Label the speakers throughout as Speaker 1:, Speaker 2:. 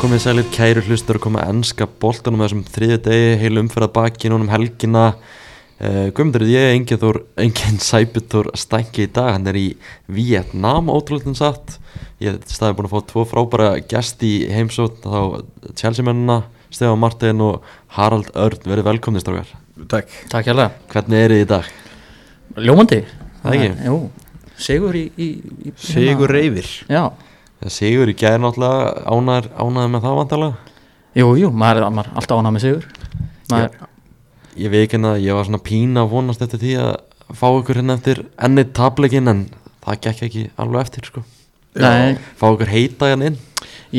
Speaker 1: Komið sælir kæru hlustur að koma að enska boltanum á þessum þriði degi, heil umferð að baki núna um helgina uh, Guðmundur, ég er engin, þór, engin sæbutur stænki í dag, hann er í Vietnam ótrúlega satt Ég er staðið búin að fá tvo frábæra gesti í heimsótt, þá Chelsea-mennina, Stefán Martin og Harald Örn, verið velkomni strákar
Speaker 2: Takk
Speaker 3: Takk hérlega,
Speaker 1: Hvernig er þið í dag?
Speaker 3: ljómandi
Speaker 1: Það ekki?
Speaker 3: Jú, sigur í, í, í
Speaker 2: Sigur
Speaker 3: hérna-
Speaker 2: reyfir
Speaker 3: Já,
Speaker 1: Það sigur í gæri náttúrulega ánar, ánaði með það vantarlega
Speaker 3: jú, jú, maður er maður er alltaf ánað með sigur maður,
Speaker 1: Ég veit ekki hérna að ég var svona pína að vonast eftir því að fá ykkur hérna eftir enni tablekin en það gekk ekki alveg eftir sko
Speaker 3: nei,
Speaker 1: Fá ykkur heita hérna inn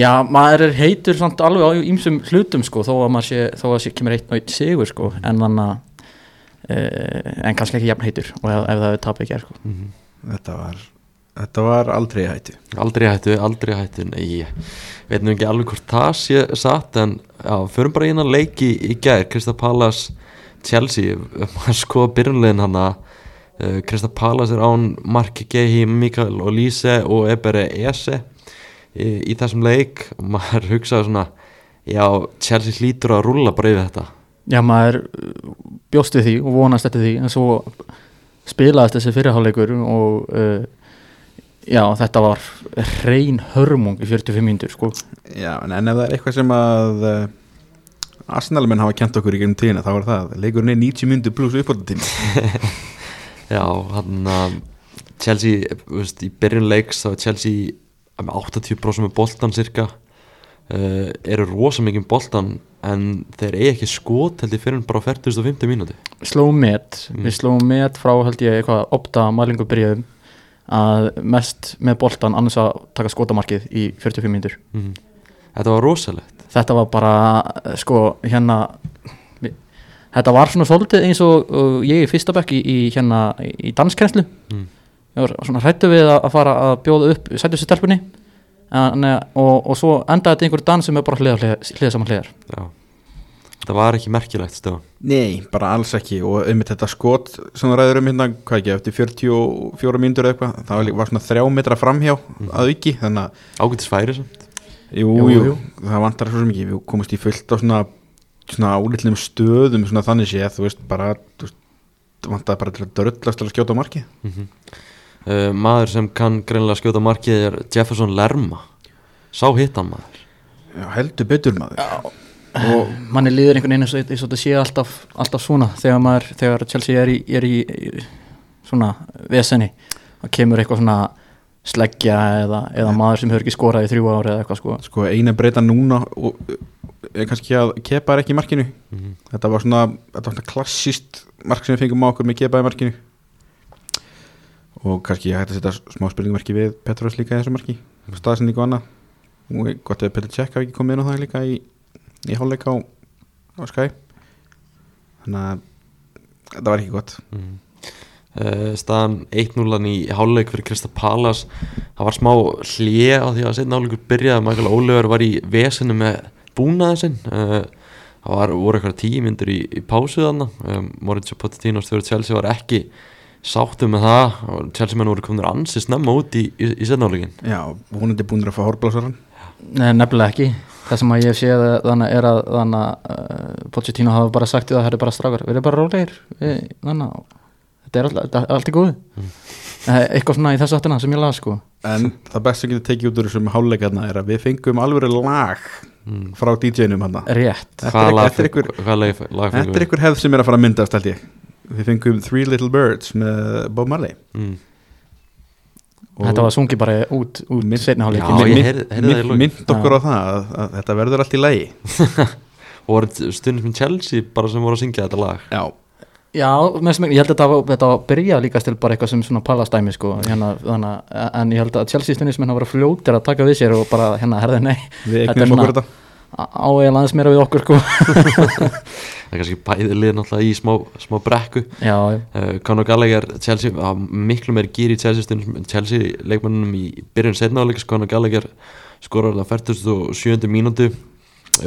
Speaker 3: já, maður er heitur samt alveg á ýmsum hlutum sko, þó að maður sé, þó að sé kemur eitt og eitt sigur sko, en þannig að Uh, en kannski ekki jafn heitur og ef, ef það er tapið gerð sko.
Speaker 2: Þetta var, þetta var aldrei í hættu
Speaker 1: Aldrei hættu, aldrei hættu, nei ég veit nú ekki alveg hvort það sé satt en já, förum bara inn að leiki í gær Krista Pallas Chelsea, maður skoða byrjunlegin hana uh, Krista Pallas er án Mark Gehi, Mikael Olise og Ebere Ese eh, í, í þessum leik og maður hugsaði svona já, Chelsea hlýtur að rúlla bara yfir þetta
Speaker 3: já maður uh, bjóst við því og vonast eftir því en svo spilaðist þessi fyrirháleikur og uh, já þetta var reyn hörmung í 45 mínútur sko.
Speaker 2: Já, en en ef það er eitthvað sem að uh, Arsenalmenn hafa kent okkur í gegnum tíðina þá var það, leikurinn er 90 myndu pluss uppbóttatíma
Speaker 1: Já, hann að Chelsea, þú veist, í byrjun leiks þá er Chelsea með 80% með boltan cirka uh, eru rosa mikið með boltan en þeir eigi ekki skot held ég fyrir en bara á 40.50 mínúti
Speaker 3: slóum met
Speaker 1: Mm.
Speaker 3: við slóum met frá held ég eitthvað opta mælingu byrjuðum að mest með boltan annars að taka skotamarkið í 45 mínútur
Speaker 1: mm. Þetta var rosalegt
Speaker 3: þetta var bara eh, sko hérna mi- þetta var svona þóldið eins og uh, ég í fyrsta bekk í, í hérna í danskrenslu
Speaker 1: Mm.
Speaker 3: ég var svona hrættu við að, að fara að bjóða upp sættu sér stelpunni en, eh, og, og svo endaði þetta í einhverju dans sem er bara hliða, hliða, hliða saman hliðar
Speaker 1: Já. Þetta var ekki merkilegt stöðan
Speaker 2: Nei, bara alls ekki og um þetta skot sem það ræður um hérna, hvað ekki, eftir 44 myndur eða eitthvað, það var líka- var svona 3 metra framhjá að auki, þannig að
Speaker 1: Ágætis færi samt
Speaker 2: jú,
Speaker 3: Jú,
Speaker 2: jú,
Speaker 3: jú.
Speaker 2: það vantar svo mikið, við komumst í fullt á svona svona álítlum stöðum svona þannig séð, þú veist, bara þú veist, vantar bara til að dörðlast til að skjóta á markið
Speaker 1: mm uh, Maður sem kann greinlega skjóta markið er Jefferson Lerma Sá hittan maður
Speaker 2: Já, heldur betur maður
Speaker 3: og manni líður einhvern veginn eins og eins og þetta sé alltaf, alltaf svona þegar, maður, þegar Chelsea er í, er í í svona veseni og kemur eitthvað svona sleggja eða, eða maður sem hefur ekki skorað í þrjú ári eða eitthvað sko
Speaker 2: Sko eina breyta núna og, er kannski að kepa er ekki í markinu
Speaker 1: Mhm.
Speaker 2: Þetta var svona, þetta var svona klassist mark sem við fengum á okkur með kepa í markinu og kannski hægt að setja smá spurningumarki við Petrus líka í þessu marki staðsending og annað og gott ef Petr Tjekk hafi ekki komið inn á það líka í, í hálfleika á, á Sky þannig að þetta var ekki gott
Speaker 1: Mm. Uh, staðan 1-0 í háluleik fyrir Krista Palas það var smá hlje á því að setna háluleikur byrjaði Michael Oliver var í vesinu með búnaði sinn uh, það var, voru eitthvað tíu myndir í, í pásu þarna um, Mauricio Pochettino stjórn Chelsea var ekki sáttu með það og Chelsea menn voru komin ansi snemma út í, í, í setna háluleikin
Speaker 2: Já, vonandi búinir að fá hórblásaran
Speaker 3: Nei, nefnilega ekki það sem að ég sé þannig er að þannig að uh, Pochettino hafa bara sagt í það það er bara strafgar, við erum bara rólegir við- þannig að þetta er alltaf, þetta er allt í góðu Eh, eitthvað svona í þessu áttina sem ég laði sko
Speaker 2: en það best sem getur tekið út úr þessum hálfleikarna er að við fengum alvöru lag
Speaker 1: mm.
Speaker 2: frá DJ-num hann
Speaker 3: rétt,
Speaker 2: Þetta er
Speaker 1: hvað
Speaker 2: ekki-
Speaker 1: lag
Speaker 2: þetta er
Speaker 1: fengu- hvað lag lag
Speaker 2: Þetta er
Speaker 1: fengu við?
Speaker 2: einhver hefð sem er að fara að myndast held ég Við fengum Three Little Birds með Bob Marley
Speaker 1: Mm.
Speaker 2: og
Speaker 3: þetta var sungið bara út, út
Speaker 2: Mynd-
Speaker 3: setni
Speaker 1: Já,
Speaker 3: hálfleikin
Speaker 1: ég
Speaker 2: mynd-
Speaker 1: heyrði- heyrði það í
Speaker 2: mynd-
Speaker 1: lokin.
Speaker 2: Mynd okkur á það að, að þetta verður allt í lagi
Speaker 1: og voru stundum sem Chelsea bara sem voru að syngja þetta lag
Speaker 2: Já,
Speaker 3: Já, mest, megnis- ég held að þetta var, þetta var að byrja líka stil bara eitthvað sem svona palastæmi sko, hérna, þannig, að- en ég held að Chelsea stundinsmenn hafa verið fljótir að taka við sér og bara hérna, herði nei,
Speaker 2: við
Speaker 3: Þetta er
Speaker 2: eignum okkur
Speaker 3: svona-
Speaker 2: þetta
Speaker 3: á ég aðeins meira við okkur sko.
Speaker 1: það er kannski bæði lið náttúrulega í smá, smá brekku
Speaker 3: Já, já.
Speaker 1: Uh, Conor Gallagher, Chelsea, á miklu meir gýr í Chelsea, stundum- Chelsea leikmannum í byrjun setna áleiks, Conor Gallagher skorar það 47. mínútu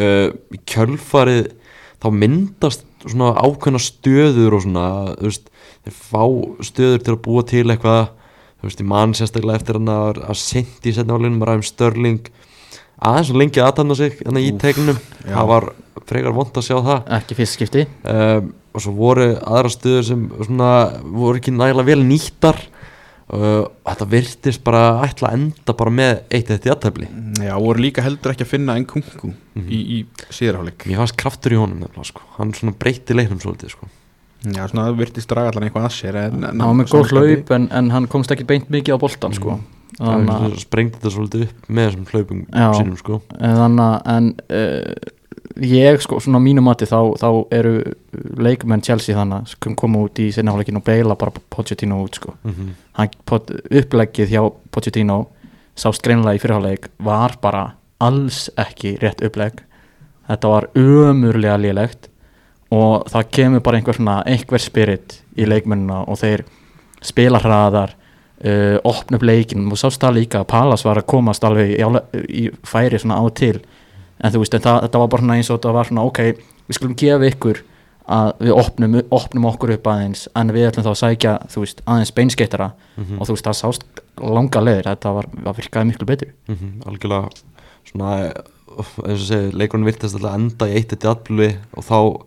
Speaker 1: uh, í kjölfarið þá myndast svona ákveðna stöður og svona þú veist, þeir fá stöður til að búa til eitthvað þú veist, ég man sérstaklega eftir hann að, að sindi í setna áleiknum ræðum Störling aðeins og lengi aðtanna sig þannig í
Speaker 2: Úff,
Speaker 1: tegnum,
Speaker 2: já.
Speaker 1: það var frekar vond að sjá það
Speaker 3: ekki fyrst skipti
Speaker 1: um, og svo voru aðra stöður sem svona, voru ekki nægilega vel nýttar uh, og þetta virtist bara ætla að enda bara með eitt eitt í aðtæfli
Speaker 2: Já, voru líka heldur ekki að finna enn kungu
Speaker 1: Mhm.
Speaker 2: í, í síðarháleik
Speaker 1: mér fannst kraftur í honum nefnilega sko. hann svona breyti leiknum svolítið sko.
Speaker 2: Já, svona það virtist draga allan eitthvað að sér en, en,
Speaker 3: hann var með
Speaker 2: svona
Speaker 3: góð hlaup en, en hann komst ekki beint mikið á boltan sko
Speaker 1: hann
Speaker 3: þannig að-
Speaker 1: sprengdi þetta svolítið upp með þessum hlaupum
Speaker 3: Já.
Speaker 1: sínum sko.
Speaker 3: en þannig að- en uh, ég sko svona á mínu mati þá, þá eru leikmenn Chelsea þannig að sk- koma út í sinnaháleikin og beila bara Pochettino út sko
Speaker 1: mm -hmm.
Speaker 3: hann, pot, uppleggið hjá Pochettino sást greinlega í fyrirháleik var bara alls ekki rétt upplegg þetta var umurlega lélegt og það kemur bara einhver, svona, einhver spirit í leikmennina og þeir spila hraðar uh, opna upp leikin og sást það líka að Palas var að komast alveg í, ále- í færi svona á og til en þú veist, en það, þetta var bara svona eins og þetta var svona ok, við skulum gefa ykkur að við opnum, opnum okkur upp aðeins en við ætlum þá að sækja, þú veist, aðeins beinskeittara og þú veist, það sást langa leiðir þetta var, það virkaði miklu betur
Speaker 1: mm algjörlega svona eh, eins og segir, leikurinn virtist alltaf enda í eitt eitt í atbyrli og þá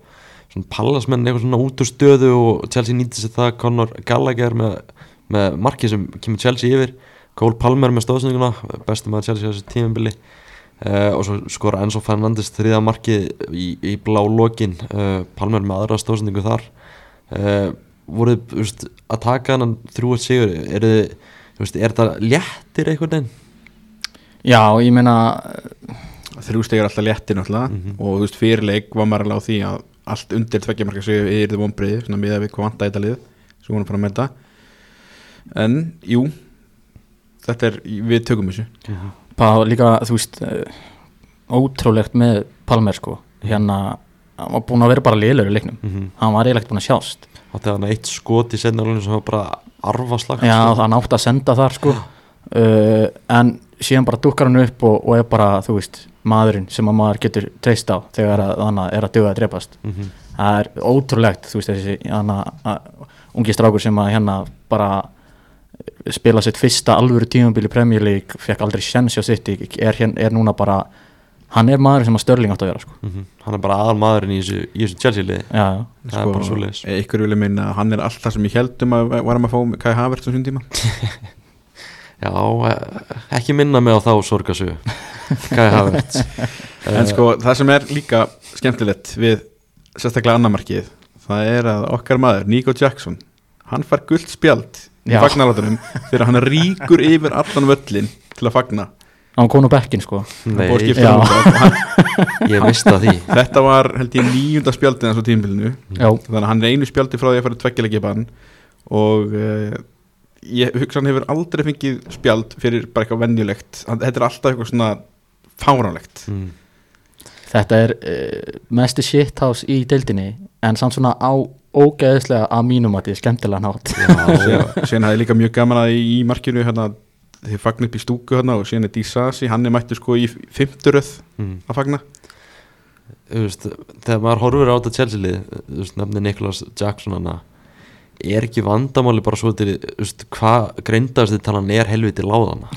Speaker 1: svona pallasmenn eitthvað svona út úr stöðu og Chelsea nýtti sér það Conor Gallagher með, með markið sem kemur Chelsea yfir Cole Palmer með stóðsendinguna bestum að Chelsea á þessu tímabili uh, og svo skora Enzo Fernandes þriða markið í, í blá lokin uh, Palmer með aðra stóðsendingu þar uh, voruð þú veist, að taka hann þrjú að sigur er, þið, þú veist, er það léttir einhvern veginn
Speaker 3: já, ég meina,
Speaker 2: Þrjú stegur alltaf léttir náttúrulega
Speaker 1: Mhm.
Speaker 2: og þú veist fyrir leik var maður alveg á því að allt undir tveggjamarka sigur yfir því vonbriði svona miða við hvað vantaði þetta lið sem hún er bara að melda en jú þetta er, við tökum þessu
Speaker 3: það var líka þú veist, eh, ótrúlegt með Palmer sko, hérna hann var búin að vera bara liðlegur í leiknum
Speaker 1: mm -hmm.
Speaker 3: hann var eiginlega ekki búin að sjást
Speaker 1: átti hann eitt skot í setnarlunum sem var bara sko. arfaslag
Speaker 3: Já, hann átti að senda þar sko uh, En síðan bara dukkar hann upp og, og er bara, þú veist, maðurinn sem að maður getur treyst á þegar að, hann að- er að duga að drepast
Speaker 1: mm -hmm.
Speaker 3: Það er ótrúlegt, þú veist, þessi hann að- að ungi strákur sem að hérna bara eh, spila sitt fyrsta alvöru tímabili Premier League, fekk aldrei sjens hjá sitt er, hér, er núna bara hann er maður sem að störling átt að vera sko.
Speaker 1: mhm. hann er bara aðal maðurinn í þessu, í þessu Chelsea liði
Speaker 3: já, já.
Speaker 1: Það er bara
Speaker 2: Sko,
Speaker 1: svoleiðis.
Speaker 2: e, Ykkur vilja minna að hann er alltaf sem ég heldum að varum að fá Kai Havertz á sín tíma
Speaker 1: já, eh, ekki minna mig á þá sorgasu Kai Havertz Eh.
Speaker 2: En sko, það sem er líka skemmtilegt við sérstaklega annarmarkið það er að okkar maður, Nico Jackson hann fær gullt spjald í
Speaker 3: Já.
Speaker 2: fagnalátunum þegar hann ríkur yfir allan völlin til að fagna
Speaker 3: hann kom nú bekkin sko
Speaker 2: Hann
Speaker 1: Nei,
Speaker 2: fór að skipta
Speaker 3: Já.
Speaker 2: um þetta. Og hann,
Speaker 1: ég mista því
Speaker 2: þetta var held ég nýjunda spjaldið hans á tímbilinu
Speaker 3: já,
Speaker 2: þannig að hann er einu spjaldi frá því að fara tveggjalegi bann og uh, ég hugsa hann hefur aldrei fengið spjald fyrir bara eitthvað venjulegt Hann- þetta er alltaf eitthvað svona fáránlegt
Speaker 1: mm.
Speaker 3: Þetta er uh, mesti shithouse í deildinni en samt svona á ógeðislega að mínum að þið er skemmtilega nátt
Speaker 1: já,
Speaker 2: síðan síðan hafði líka mjög gaman að í í markinu hérna, þeir fagna upp í stúku hérna, og síðan er Dísasi, hann er mættur sko í fimmturöð
Speaker 1: mm.
Speaker 2: að fagna
Speaker 1: Þú veist, þegar maður horfir á þetta Chelsea lið þú veist, nefnir Niklas Jackson hana er ekki vandamáli bara svo til þú veist, hvað greindast þið talan er helviti láðana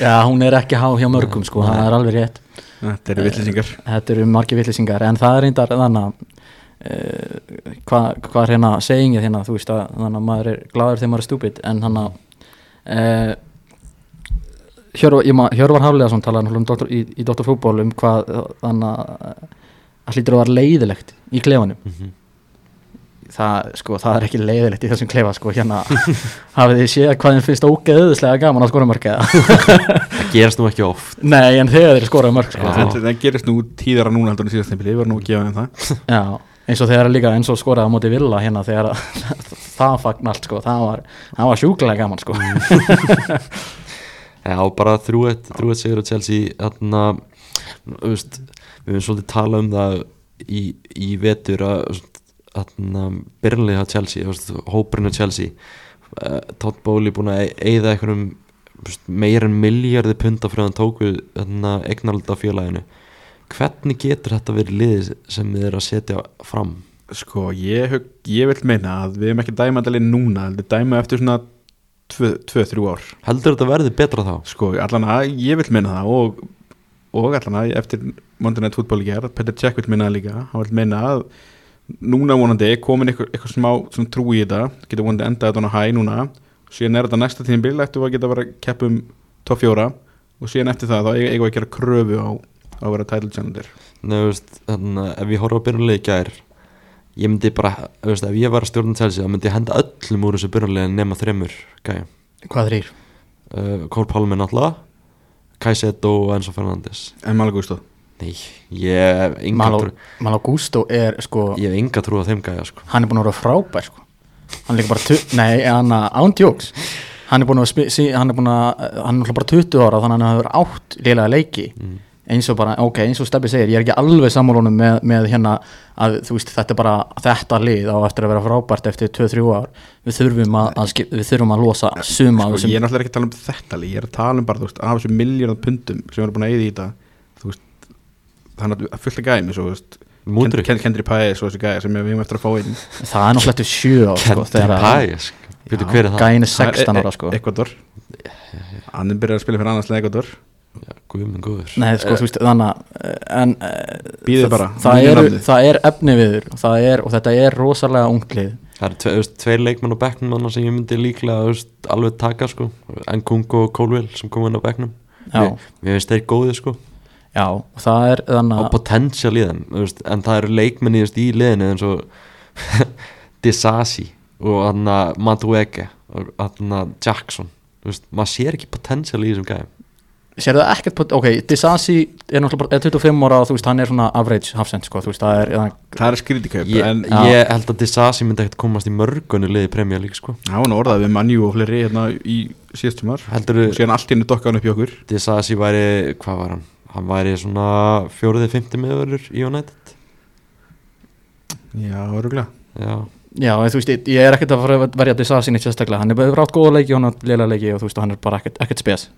Speaker 3: Já, hún er ekki há hjá mörgum sko, það er alveg rétt
Speaker 2: þetta eru villisingar
Speaker 3: Þetta eru margir villisingar en það er reyndar þannig að uh, hvað hva er hérna segingið hérna, þú veist að þannig að maður er gladur þegar maður er stúpid en þannig að uh, Hjörvar, ég ma- Hjörvar Hafleðarsson talaði náttúrulega um doktor, í, í Dr. Fútból um hvað eh, þannig að eh, að hlýtur að var leiðilegt í klefanum
Speaker 1: mm -hmm.
Speaker 3: það, sko, það er ekki leiðilegt í þessum klefa sko, hérna hafið þið séð hvað þeim finnst ógeðislega gaman að skora mörg eða?
Speaker 1: það gerast nú ekki oft
Speaker 3: Nei, en þegar þeir skora mörg sko,
Speaker 1: Já.
Speaker 2: þetta það gerist nú tíðara núna heldur en síðast nefnilega, ég var nú að gefa þeim það
Speaker 3: já, eins og þegar líka eins og skoraði á móti Villa hérna þegar að- það fagn allt sko, það var, það var sjúklega gaman sko
Speaker 1: Já, bara þrjúett, þrjúett sigur á Chelsea þarna, þú veist, við höfum svolítið tala um það í, í vetur að þarna, byrnlið á Chelsea, þú veist, hópurinn á Chelsea uh, Todd Bowley búin að eigða einhverjum þú veist, meir en miljardi punta fyrir að hann tóku þarna, eignarlita félaginu hvernig getur þetta verið liðið sem þið er að setja fram?
Speaker 2: sko, ég, hug, ég vil meina að við hefum ekki dæma þetta leið núna heldur dæma eftir svona 2-3 ár
Speaker 1: Heldur þetta verði betra þá?
Speaker 2: sko, allan að ég vil meina það og og allan að eftir Monday Night Football í gerð, Petr Cech vil minna það líka hann vil minna að núna vonandi er komin eitthvað, eitthvað smá svona, trú í þetta getur vonandi endað þetta á hæ núna síðan er þetta næsta tíðin bíl eftir að geta að vera að keppa um topp fjóra og síðan eftir það þá eigum við að gera kröfu á, á að vera title challenger
Speaker 1: Nei, þú veist, þannig að ef ég horfa á byrjunlega í gær ég myndi bara, þú veist, ef ég var að stjórna Chelsea þá myndi ég henda öllum úr þessu byrjunlega nema þremur gæja
Speaker 3: Hvað þrýr?
Speaker 1: uh, Kól Pálmi náttúrulega Kajset og Enzo Fernandes
Speaker 2: en Malaga úr stóð
Speaker 1: Nei, ég hef enga trú
Speaker 3: Mal Augusto er sko
Speaker 1: ég hef enga trú á þeim gæja sko
Speaker 3: hann er búin að vera frábær sko. hann er líka bara tu- nei, hann ándjóks hann er búin að spi- sí- hann er búin að uh, hann er náttúrulega bara 20 ára þannig að hann hefur átt lélega leiki eins og bara, ok, eins og Stebbi segir ég er ekki alveg sammálunum með, með hérna að þú veist, þetta er bara þetta lið á eftir að vera frábært eftir 2-3 ár við þurfum að, að skip, við þurfum að losa suma
Speaker 2: sko,
Speaker 3: af
Speaker 2: ég er
Speaker 3: þessum
Speaker 2: náttúrulega ekki að tala um þetta lið, ég er að tala um bara þú veist, af þessum miljónar pundum sem eru búin að eyða í þetta þú veist, þannig að fullt að gæmi svo, þú veist,
Speaker 1: Múndri,
Speaker 2: Kend- Kendri Pæs og þessi gæja sem við hefum eftir að fá inn
Speaker 3: það er náttúrulega eftir 7 ár sko,
Speaker 1: Kendri Pæ sko. Veitu hver er það?
Speaker 3: gæin er 16
Speaker 2: e-
Speaker 3: ára sko
Speaker 2: Ekvador hann er byrjað að spila fyrir annarslega Ekvador
Speaker 1: Já, Guðmund góður
Speaker 3: Nei, sko, þú veist, þannig að en, eh,
Speaker 2: Bíðið
Speaker 3: það-
Speaker 2: bara,
Speaker 3: það,
Speaker 2: bíðið
Speaker 3: eru,
Speaker 2: nafnið.
Speaker 3: það er efni viður og, það er, og þetta er rosalega unglið
Speaker 1: Það eru tve, þú veist, tveir leikmenn á bekknum manna sem ég myndi líklega þú veist, alveg taka sko Engungo og Colwell sem kom inn á bekknum
Speaker 3: Já.
Speaker 1: Mér mér finnst þeir góði sko
Speaker 3: Já, og það er
Speaker 1: á
Speaker 3: þannig að
Speaker 1: potential í þeim þú veist, en það eru leikmenn í, þú veist, í liðinu eins og Disasi og hann að Madueke og hann að Jackson þú veist, maður sér ekki potential í þessum gæðum
Speaker 3: Sér það ekkert, pot- ok, Disasi er náttúrulega bara- er 25 ára og þú veist, hann er svona average hafsend, sko, þú veist, það er eða,
Speaker 2: það er skrítikaup en
Speaker 1: ég,
Speaker 3: Já.
Speaker 1: ég held að Disasi myndi ekkert komast í mörgunni liði premja líka sko
Speaker 2: hann var orðað við mannjú og fleiri hérna í síðastum ár
Speaker 1: heldur
Speaker 2: og síðan allt inni dokka hann upp í okkur
Speaker 1: Disasi væri, hvað var hann hann væri svona fjóruðið fymti miðurur í United
Speaker 2: já, öruglega
Speaker 1: já,
Speaker 3: Já, en þú veist, ég- ég er ekkert að fara að verja Disasi neitt sérstaklega, hann er bara rátt góða leiki og hann er lélega leiki og þú veist, hann er bara ekkert, ekkert spes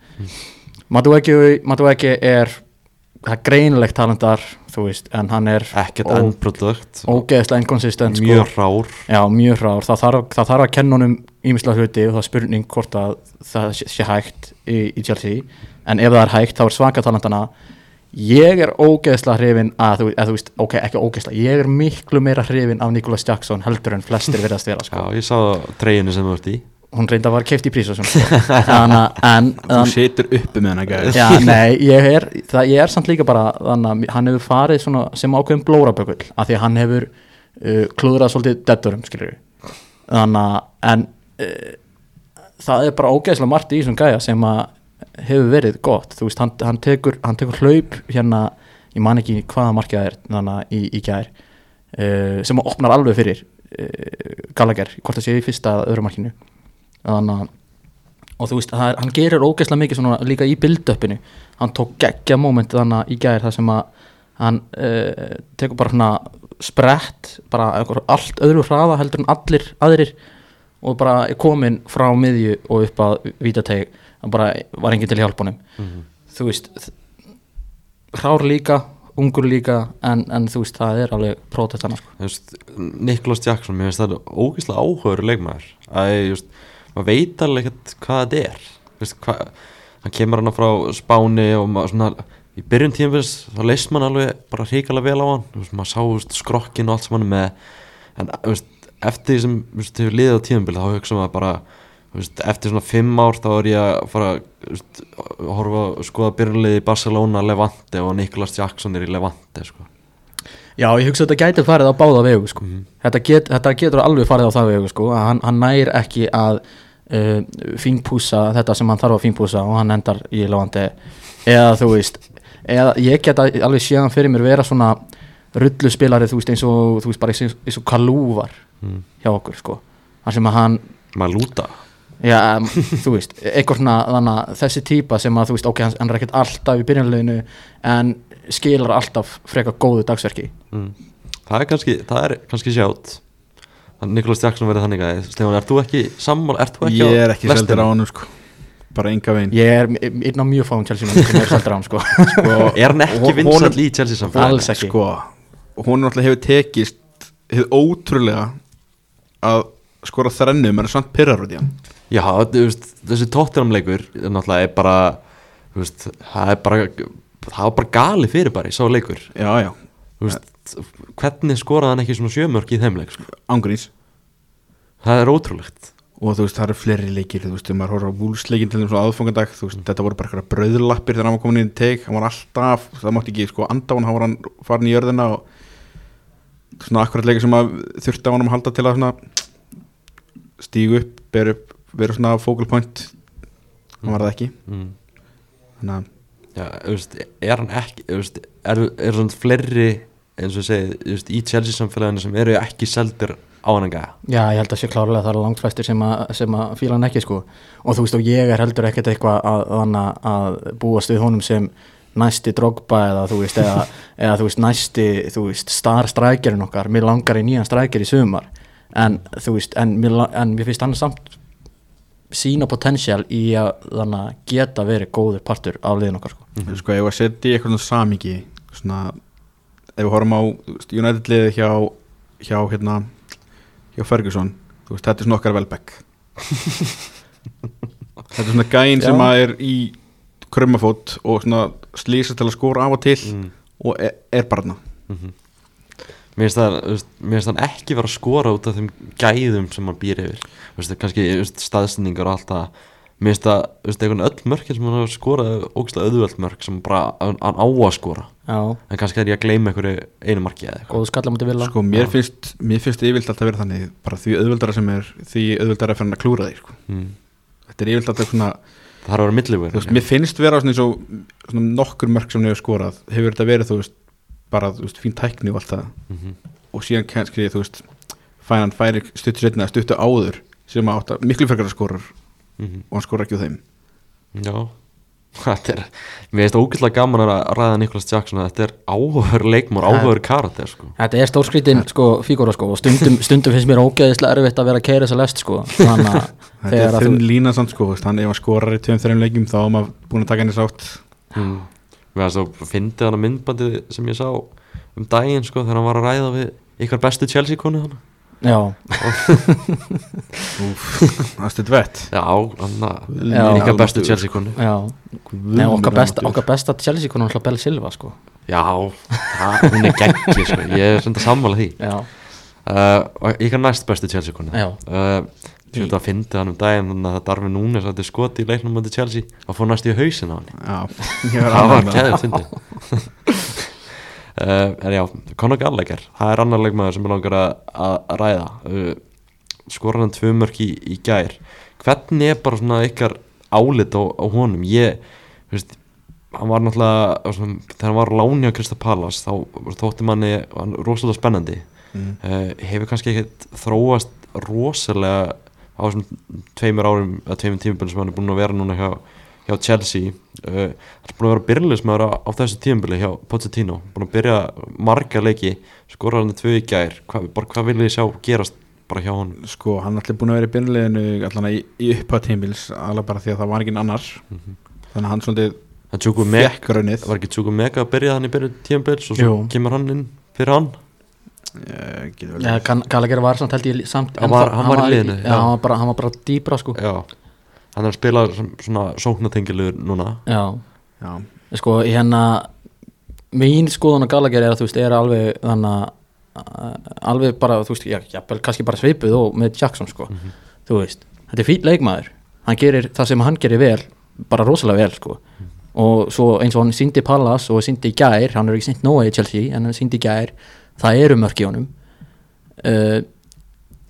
Speaker 3: Matueki, Matueki er það er greinilegt talentar, þú veist, en hann er
Speaker 1: ekkert
Speaker 3: ó-
Speaker 1: endprodukt
Speaker 3: ógeðslega inconsistent, sko
Speaker 1: mjög rár
Speaker 3: Já, mjög hrár, það þarf, það þarf að kenna honum ímislega hluti og það er spurning hvort að það sé- sé hægt í, í Chelsea en ef það er hægt þá er svaka talantana ég er ógeðslega hrifin að þú, að þú veist, ok, ekki ógeðslega ég er miklu meira hrifin af Nicholas Jackson heldur en flestir verðast vera sko.
Speaker 1: já, ég sá treyjunni sem þú ert í
Speaker 3: hún reynda var keift í prís og svona sko. þannig að- en,
Speaker 2: þú
Speaker 3: en
Speaker 2: situr uppi með hann gæja
Speaker 3: Um, Já, nei, ég er, það, ég er samt líka bara þannig að hann hefur farið svona, sem ákveðin blórabökull af því að hann hefur uh, klúðrað svolítið detturum, skilur við þannig að en, uh, það er bara ógeðslega margt í þessum gæja sem að hefur verið gott þú veist, hann, hann, tekur, hann tekur hlaup hérna, ég man ekki hvaða markið það er þannig að í, í gær uh, sem að opnar alveg fyrir uh, Gallagher, hvort það sé í fyrsta eða öðru markinu þannig að og þú veist, það er, hann gerir ógeðslega mikið svona líka í build-upinu hann tók geggja moment þannig í gær þar sem að hann uh, tekur bara svona sprett, bara einhver- allt öðru hraða heldur en allir aðrir og bara er komin frá miðju og upp að vítateg hann bara var enginn til hjálpunum mm -hmm. þú veist þ- hrár líka, ungur líka en, en þú veist, það er alveg prótest hann sko.
Speaker 1: Þú veist, Niklas Jackson, mér finnst það ógeðslega áhugaður leikmaður að ég, just, maður veit alveg ekkert hvað þetta er Þú veist, hva, hann kemur hann frá Spáni og maður svona í byrjun tímafins þá leist maður alveg bara hrikalega vel á hann Þú veist, maður sá þú veist, skrokkin og allt sem hann er með en þú veist, eftir því sem þú veist, hefur liðið á tímafél þá hugsa maður bara þú veist, eftir svona fimm ár þá er ég að fara þú veist, að horfa að skoða byrjunliði í Barcelona, Levante og Niklas Jackson er í Levante sko.
Speaker 3: Já, ég hugsa að þetta gæti farið á báða vegu sko. þetta, get, þetta getur alveg farið á það vegu sko. að hann, hann nær ekki að uh, fínpúsa þetta sem hann þarf að fínpúsa og hann endar í lofandi eða þú veist eða, ég get að- alveg séðan fyrir mér vera svona rulluspilari þú veist eins og, þú veist, bara eins, eins og kalúvar hjá okkur sko. þar sem að hann
Speaker 1: maður lúta
Speaker 3: Já, em, þú veist, eitthvað svona þannig að þessi típa sem að þú veist, ok, hann hann er ekkert alltaf í byrjanleginu en skilar alltaf freka góðu dagsverki
Speaker 1: Mm. Það er kannski, það er kannski sjátt Þannig Niklas Jackson verið þannig að Stefán, ert þú ekki sammál, ert þú ekki
Speaker 2: ég er ekki seldur á
Speaker 1: lestinni?
Speaker 2: hann sko. bara enga vegin
Speaker 3: Ég er einn á mjög fáum Chelsea mennum sem er sæltur á hann sko
Speaker 2: sko,
Speaker 1: Er hann ekki
Speaker 2: hon- honum-
Speaker 1: vinsall í Chelsea samfélagi?
Speaker 3: Alls ekki
Speaker 2: sko, hún náttúrulega hefur tekist hefur ótrúlega að skora þrennu menn er samt pyrrar út í hann
Speaker 1: Já, þú veist, þessi tóttinamleikur er náttúrulega er bara þú veist, það er bara það var bara gali fyrir bara í sá leikur
Speaker 2: já, já,
Speaker 1: Þú veist, hvernig skoraði hann ekki svona sjömörk í þeim leik sko?
Speaker 2: ángurins
Speaker 1: það er ótrúlegt
Speaker 2: og þú veist, það eru fleiri leikir þú veist, þegar maður horfður á vúlsleikin til þeim svo aðfangandag þú veist, þetta voru bara eitthvað bröðlappir þegar hann var komin inn í teik, hann var alltaf það mátti ekki, sko, andá hann, hann var hann farin í jörðina og svona akkurat leikir sem að þurfti á hann að halda til að svona stígu upp, beru upp, vera svona focal point, hann var það ekki
Speaker 1: mm.
Speaker 2: þannig að,
Speaker 1: Já, þú veist, er hann ekki þú veist, er, er svona fleiri eins og ég segi, þú veist, í Chelsea samfélaginu sem eru ekki seldir á hann gæja
Speaker 3: Já, ég held að sé klárlega það eru langt flestir sem að, sem að fíla hann ekki sko og þú veist og ég er heldur ekkert eitthvað að, að, að búast við honum sem næsti drogba eða þú veist eða, eða þú veist næsti þú veist star strækjarinn okkar, mér langar í nýjan strækjar í sumar en þú veist en mér, la- en mér finnst hann samt sína potensial í að þannig að geta verið góður partur af liðin okkar sko
Speaker 1: Mhm.
Speaker 2: sko, ef að setja í eitthvað svona samingi svona, ef við horfum á þú veist, United liðið hjá hjá, hérna, hjá Ferguson þú veist, þetta er svona okkar velbæk þetta er svona gæinn sem
Speaker 3: Já.
Speaker 2: að er í krömmafót og svona slýsast til að skora af og til
Speaker 1: mm.
Speaker 2: og er, er barna
Speaker 1: Mér finnst það- þú veist, mér finnst hann ekki vera að skora út af þeim gæðum sem hann býr yfir Þú veist, kannski þú veist, staðsendingar og allt það Mér finnst það, þú veist, einhvern öll mörkin sem hann hefur skorað, ógæslega auðvöld mörk sem bara hann hann á að skora
Speaker 3: Já,
Speaker 1: en kannski er ég að gleyma einhverju einu marki eða eitthvað
Speaker 3: góðu skallamóti vilja
Speaker 2: sko, mér finnst, mér finnst yfirlt alltaf verið þannig bara því auðveldara sem er, því auðveldara fyrir hann að klúra því, sko,
Speaker 1: mm.
Speaker 2: þetta er yfirlt alltaf svona
Speaker 1: Það þarf að vera
Speaker 2: þú veist,
Speaker 1: millivegur
Speaker 2: mér finnst vera svona eins og svona nokkur mörg sem niður skorað hefur þetta verið, þú veist, bara þú veist, fín tækni og allt það
Speaker 1: Mhm.
Speaker 2: og síðan kannski, þú veist, fænan færi stuttu setna, stuttu áður sem að átta miklu frekar að skorar
Speaker 1: Mhm.
Speaker 2: og hann skorar ekki úr þeim
Speaker 1: Já Þetta er, mér finnst ógæslega gaman að ræða Nikolas Jackson að þetta er áhör leikmór,
Speaker 3: Það-
Speaker 1: áhör karakter sko.
Speaker 3: Þetta er stórskrítin sko, fígóra sko, og stundum, stundum finnst mér ógeðislega erfitt að vera að keira þess að lest sko. þannig að
Speaker 2: þetta
Speaker 3: þegar
Speaker 2: er
Speaker 3: að
Speaker 2: þunn
Speaker 3: þú
Speaker 2: lína samt sko, þú veist, hann ef hann skorar í tveim þreim leikjum þá er maður búin að taka henni sátt
Speaker 1: mm. Mér finnst að fyndi hann að myndbandi sem ég sá um daginn sko, þegar hann var að ræða við ykkar bestu Chelsea konu hann
Speaker 3: já,
Speaker 2: það stutt vett
Speaker 1: Já, hann að
Speaker 3: Já.
Speaker 1: ykkar bestu Chelsea konu
Speaker 3: já. Nei, okkar, besta, okkar besta Chelsea konar alltaf Bell Silva sko.
Speaker 1: Já, það, hún er geggi sko. ég er sem þetta sammála því
Speaker 3: já,
Speaker 1: uh, og ykkar næst bestu Chelsea konu
Speaker 3: Já.
Speaker 1: uh, Þetta að fyndi hann um daginn þannig að það darfi núna að þetta er skoti í leiknum mæti Chelsea og fór næst í hausin á hann
Speaker 2: já, ég
Speaker 1: það
Speaker 2: var
Speaker 1: var
Speaker 2: ánægður með það.
Speaker 1: keðið fyndið uh, en já, Conor Gallagher það er annar leikmaður sem er langar að, að ræða uh, skorar hann tvö mörk í, í gær hvernig er bara svona ykkar álit á, á honum ég, þú veist hann var náttúrulega, eh, svona, þegar hann var á láni á Krista Pallas, þá þótti manni hann rosalega spennandi
Speaker 2: Mm.
Speaker 1: uh, hefur kannski ekkert þróast rosalega á þessum tveimur árum eða tveimur tímubilum sem hann er búin að vera núna hjá, hjá Chelsea uh, hann er búin að vera byrjulegismæður á, á þessu tímubili hjá Pochettino, búin að byrja marga leiki, skorar hann tvö í gær Hva, bara hvað viljið þið sjá gerast bara hjá hann
Speaker 2: sko, hann er allir búin að vera í byrnuleginu allan í, í upphá tímils, alveg bara því að það var enginn annar
Speaker 1: Mhm.
Speaker 2: þannig að hann svolítið
Speaker 1: en Tjúku Meg,
Speaker 2: fekk raunnið
Speaker 1: var ekki Tjúku Meg að byrja hann í byrju tímubils og svo
Speaker 3: Jú.
Speaker 1: kemur hann inn fyrir hann
Speaker 2: Eh, getur vel
Speaker 3: já
Speaker 2: verið.
Speaker 3: Gallagher var samt held ég lí- samt
Speaker 1: Hann var-
Speaker 3: ennþá-
Speaker 1: hann var í liðinu,
Speaker 3: já,
Speaker 1: já.
Speaker 3: hann var bara, hann var bara dýbra sko.
Speaker 1: já, hann er að spila sem- svona sóknatengilegur núna
Speaker 3: já,
Speaker 2: Já,
Speaker 3: sko hérna mín skoðun á Gallagher er að þú veist er alveg þannig að að- alveg bara þú veist já, jafnvel, kannski bara svipuð og með Jackson sko þú veist þetta er fýt leikmaður hann gerir það sem hann gerir vel bara rosalega vel sko og svo eins og hann síndi Pallas og síndi í gær hann er ekki sínd nóa í Chelsea en hann síndi í gær það eru mörk í honum uh,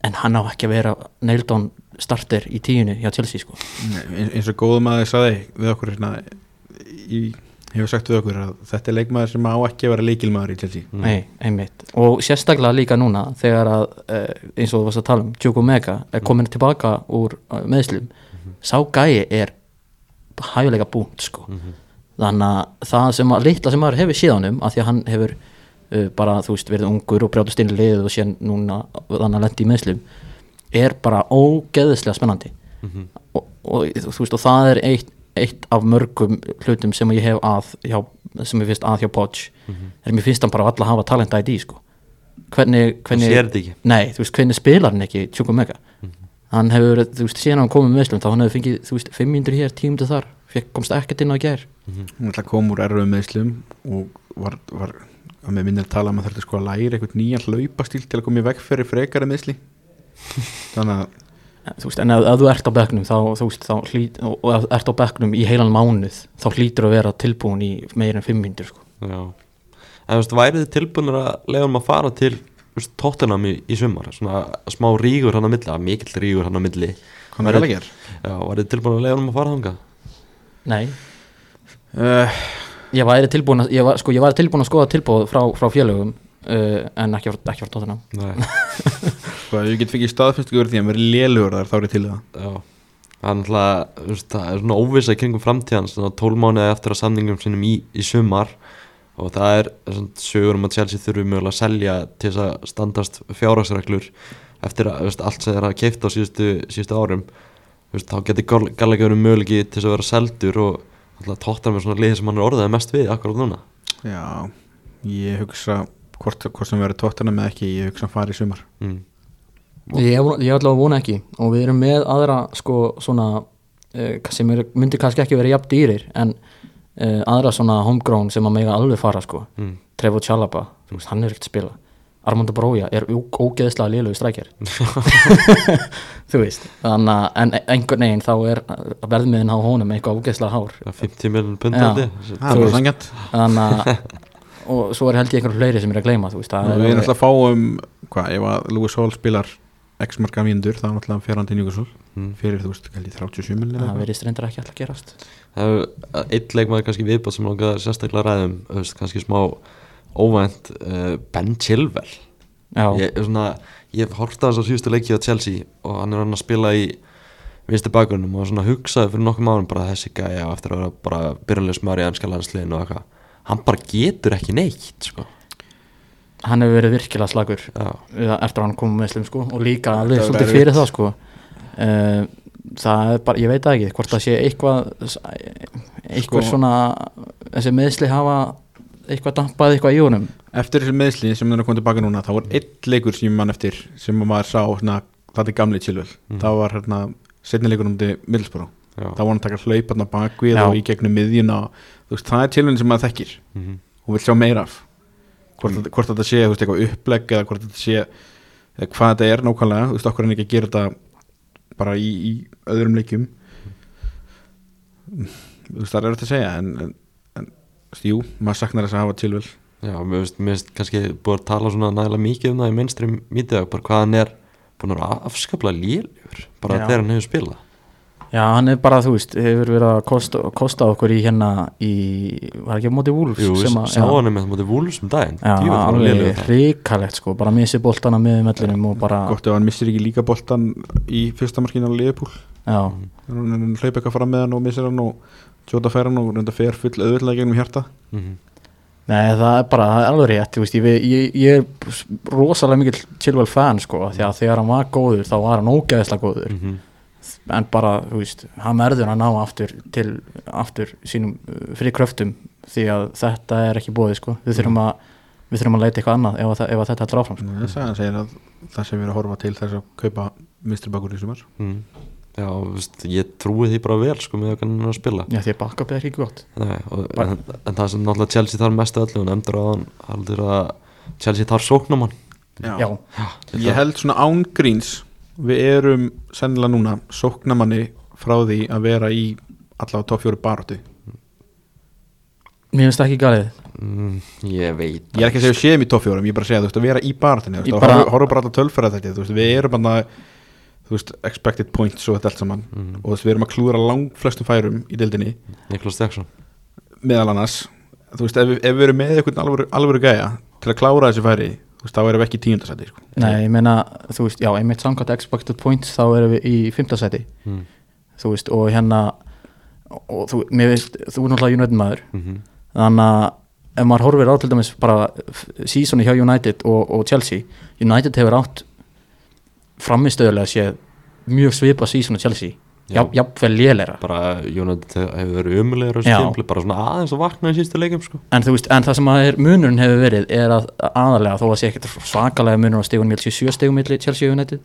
Speaker 3: en hann á ekki að vera Neildon starter í tíunni hjá Chelsea sko
Speaker 2: Nei, eins og góðum að þið saði við okkur hérna, í, hefur sagt við okkur að þetta er leikmaður sem á ekki að vera leikilmaður í Chelsea
Speaker 1: Mm.
Speaker 3: Nei, einmitt og sérstaklega líka núna þegar að eh, eins og þú varst að tala um Djoko Mega er komin tilbaka úr eh, meðslum sá gæi er hæfilega búnt sko þannig að það sem að litla sem maður hefur síðanum að því að hann hefur uh, bara þú veist verið ungur og brjóðast inn í liðið og síðan núna þannig að lendi í meðslum er bara ógeðislega spennandi og, og þú veist og það er eitt, eitt af mörgum hlutum sem ég hef að hjá, sem ég finnst að hjá Poch
Speaker 1: Mhm.
Speaker 3: er mér finnst hann bara alla hafa talent ID sko hvernig, hvernig
Speaker 1: sér þetta ekki. Mhm.
Speaker 3: nei, þú veist, hvernig spilar hann ekki Tjúku Mega hann hefur, þú veist, síðan hann komið með meðslum þá hann hefur fengið, þú veist, 500 hér, 1000 þar fekk, komst ekkert inn á í gær
Speaker 2: hún ætla að koma úr erfum meðslum og var, var að með minni að tala um að þurfti sko að læra eitthvað nýja hlaupastíl til að koma í veg fyrir frekari meðsli þannig að
Speaker 3: þú veist, en ef, ef þú ert á bekknum þá, þú veist, þá hlýt, og og ef þú ert á bekknum í heilan mánuð þá hlýtur að vera tilbúin í meir en 500 sko.
Speaker 1: Já En þú veist, værið þið tilbúinir að leiða um að fara til þú veist, Tottenham í, í sumar Svona smá rígur hann á milli, að mikill rígur hann á milli
Speaker 2: hann er
Speaker 1: Væri-
Speaker 2: alveg hér
Speaker 1: Já, værið þið tilbúinir að leiða um að fara þangað
Speaker 3: Nei,
Speaker 2: uh,
Speaker 3: ég væri tilbúin að, ég var, sko, ég væri tilbúin að skoða tilbúið frá, frá félögum uh, en ekki, frá- ekki frá tóttunum
Speaker 1: Nei,
Speaker 2: sko, ef ég get fengið staðfestu yfir því að vera lélugur þar þá er ég til í það
Speaker 1: já Þannig að það er svona óvisa í kringum framtíðan svona 12 mánuði eftir að samningum sinum í, í sumar og það er svona sögur um að Chelsea þurfi mögulega að selja til þess að standast fjárhagsreglur eftir að þú veist, allt sem þeir hafa keift á síðustu, síðustu árum Þú veist, þá getur gallega verið mögulegi um til þess að vera seldur og alltaf tóttar með svona liði sem hann er orðið mest við akkurat núna
Speaker 2: Já, ég hugsa hvort, hvort sem verið tóttana með ekki ég hugsa að fara í sumar
Speaker 1: mm.
Speaker 3: Ég, ég allavega vona ekki og við erum með aðra sko svona uh, sem er, myndi kannski ekki vera jafn dýrir en uh, aðra svona homegrown sem að mega alveg fara sko
Speaker 1: Mm.
Speaker 3: Trevor Chalaba, þú veist, hann er ekkert að spila Armando Brója er ó- ógeðslega lélögu strækjar þú veist, þannig að en einhvern veginn þá er verðmiðin á honum eitthvað ógeðslega hár
Speaker 1: Það er 50 miljonur
Speaker 3: Já.
Speaker 1: pundandi
Speaker 2: Það
Speaker 3: Þú
Speaker 2: er bara
Speaker 3: veist.
Speaker 2: sangjant
Speaker 3: þannig að og svo er held ég einhverjum fleiri sem er að gleyma þú veist, það
Speaker 2: Við
Speaker 3: er
Speaker 2: erum alltaf að fáum, hvað, ef að Lewis Hall spilar x marga vindur, þá er alltaf fyrir hann til Newcastle
Speaker 1: mm.
Speaker 2: fyrir, þú veist, kalli 37 millir
Speaker 3: það verðist reyndar ekki alltaf að gerast
Speaker 1: Það er eitt leikmaður kannski viðbátt sem langaði sérstaklega að ræðum þú veist, kannski smá óvænt uh, Ben Chilwell
Speaker 3: Já,
Speaker 1: ég, er svona, ég horfði hans á síðustu leiki á Chelsea og hann er hann að spila í vinstu bakgrunum og svona hugsaði fyrir nokkum árum bara þessi gæja á eftir að vera bara byrjunleysmaður í ennska landsliðin og eitthvað hann bara getur ekki neitt sko.
Speaker 3: hann hefur verið virkilega slagur
Speaker 1: Já,
Speaker 3: eða eftir að hann kom með slum sko og líka alveg
Speaker 2: verður
Speaker 3: svolítið fyrir það sko uh, það er bara, ég veit það ekki hvort það sé eitthvað eitthvað
Speaker 2: Sko-
Speaker 3: svona þessi meðsli hafa eitthvað dampað eitthvað í honum
Speaker 2: Eftir þessi meðsli sem þeir eru að koma tilbaka núna þá var einn leikur sem ég mann eftir sem að maður sá, svona, það er gamli Chilwell
Speaker 1: Mm.
Speaker 2: það var hérna, setni leikur um til Middlesbrough,
Speaker 1: já.
Speaker 2: þá var hann að taka hlauparna bakvið
Speaker 3: Já.
Speaker 2: og í gegnum miðjuna þú veist, það er Chilwell sem maður þekkir
Speaker 1: Mhm.
Speaker 2: og vil sjá meira af hvort, mm. hvort þetta sé þú veist, eitthvað upplegg eða hvort þetta sé eða hvað þetta er nákvæmlega þú veist okkur en ekki að gera þetta bara í, í öðrum leikjum Mm. þú veist það er auðvitað að segja en, en, en þú veist, jú, maður saknar þess að hafa tilvel
Speaker 1: Já, mér finnst- mér finnst kannski búið að tala svona nægilega mikið um það í minnstri mítið bara hvað hann er búin að vera afskaplega lýljur bara
Speaker 3: Já.
Speaker 1: þegar hann hefur spilað
Speaker 3: já, hann er bara, þú veist, hefur verið að kosta, kosta okkur í hérna í, var ekki á móti Wolves
Speaker 1: Jú,
Speaker 3: sem að-
Speaker 1: sá
Speaker 3: já.
Speaker 1: hann með það mútið vúlum sem um daginn
Speaker 3: Já,
Speaker 1: Djöfull var hann lélegur
Speaker 3: alveg
Speaker 1: þar.
Speaker 3: hrikalegt sko, bara missi boltana með mellinum og bara,
Speaker 2: gott ef hann missir ekki líka boltan í fyrsta markinu á Leifupúl
Speaker 3: já,
Speaker 2: hann hlaup eitthvað fram með hann og missir hann og tjóta fær hann og reynda fer full auðvitað gegnum hjarta
Speaker 1: Mhm.
Speaker 3: Nei, það er bara, það er alveg rétt, þú veist, ég, ég, ég er rosalega mikill Chilwell fan, sko, af því að þegar hann var góður, þá var hann ógæðislega góður,
Speaker 1: Mhm.
Speaker 3: en bara, þú veist, hann verður að ná aftur til, aftur sínum uh, frí kröftum, því að þetta er ekki búið, sko, við þurfum að, við þurfum að leita eitthvað annað ef, að, þa- ef að þetta heldur áfram, sko.
Speaker 2: þess að hann segir að það sem við erum að horfa til þess að kaupa mistri bakur í sumar
Speaker 1: Mhm. Já, þú veist, ég trúi því bara vel sko með að hann er að spila
Speaker 3: Já, því að bakkapið er ekki gott.
Speaker 1: Nei, og,
Speaker 3: Bara-
Speaker 1: en, en það sem náttúrulega Chelsea þarf mest af öllu og nefndur að hann haldur að Chelsea þarf sóknumann
Speaker 3: Já,
Speaker 2: Ég held svona ángríns við erum sennilega núna sóknamanni frá því að vera í allavega toppfjóru baróttu
Speaker 3: mér finnst það ekki galið.
Speaker 1: mm, Ég veit
Speaker 2: Ég er ekki að segja við séum í toppfjórum, ég er bara að segja þú veist að vera í baróttunni
Speaker 3: Í
Speaker 2: og
Speaker 3: bara-
Speaker 2: bara... horfa bara alltaf tölfæra þetta þú veist, við erum bara þú veist, expected points og þetta allt saman
Speaker 1: mm,
Speaker 2: og þú veist, við erum að klúra langflestum færum í deildinni
Speaker 1: Niklas Stjaksson
Speaker 2: meðal annars þú veist, ef, við- ef við erum með einhvern alvöru, alvöru gæja til að klára þessi færi þú veist, þá erum við ekki tíundasæti sko.
Speaker 3: Nei, ég meina, þú veist, já, einmitt samkvæmt expected points, þá erum við í fimmtasæti.
Speaker 1: mm,
Speaker 3: þú veist, og hérna og þú, mér veist, þú er náttúrulega United maður
Speaker 1: mm -hmm.
Speaker 3: þannig að ef maður horfir á til dæmis bara f- seasoni hjá United og, og Chelsea United hefur átt framistöðulega séð mjög svipa season og Chelsea
Speaker 1: Já.
Speaker 3: Jaf, jafnvel lélera
Speaker 1: Bara Jónat hefur verið umulegur á
Speaker 3: Já.
Speaker 1: þessu tímpli bara svona aðeins að vakna í síðustu leikum sko
Speaker 3: en, þú veist, en það sem að er, munurinn hefur verið er að aðalega þó að sé ekkert svakalega munur á stegunum 7 stegum milli Chelsea og United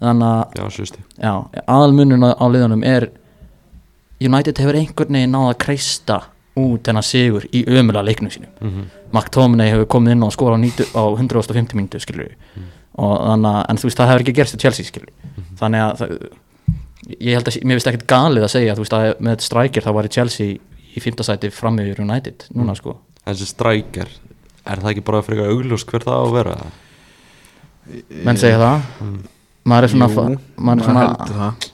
Speaker 3: þannig að
Speaker 1: Já, sjösti
Speaker 3: Já, aðalmunun á á liðunum er United hefur einhvern veginn náða að kreista út hennar sigur í ömulega leiknum sínum
Speaker 1: mm -hmm.
Speaker 3: McTominay hefur komið inn og skorað á, 90 á 150 mínútu skilur
Speaker 2: Mm.
Speaker 3: og þannig að, en þú veist, það hefur ekki gerst í Chelsea skilur
Speaker 2: Mm-hmm.
Speaker 3: þannig að það, ég held að, sé- mér finnst ekkert galið að segja þú veist, að með strækir þá var í Chelsea í fymtasæti frammi yfir United núna sko,
Speaker 1: þessi strækjar er það ekki bara frekar augljós hver það á að vera
Speaker 3: menn segja það
Speaker 1: mm.
Speaker 3: maður er svona,
Speaker 2: Jú,
Speaker 3: fa- maður er
Speaker 2: heldur
Speaker 3: svona
Speaker 2: það.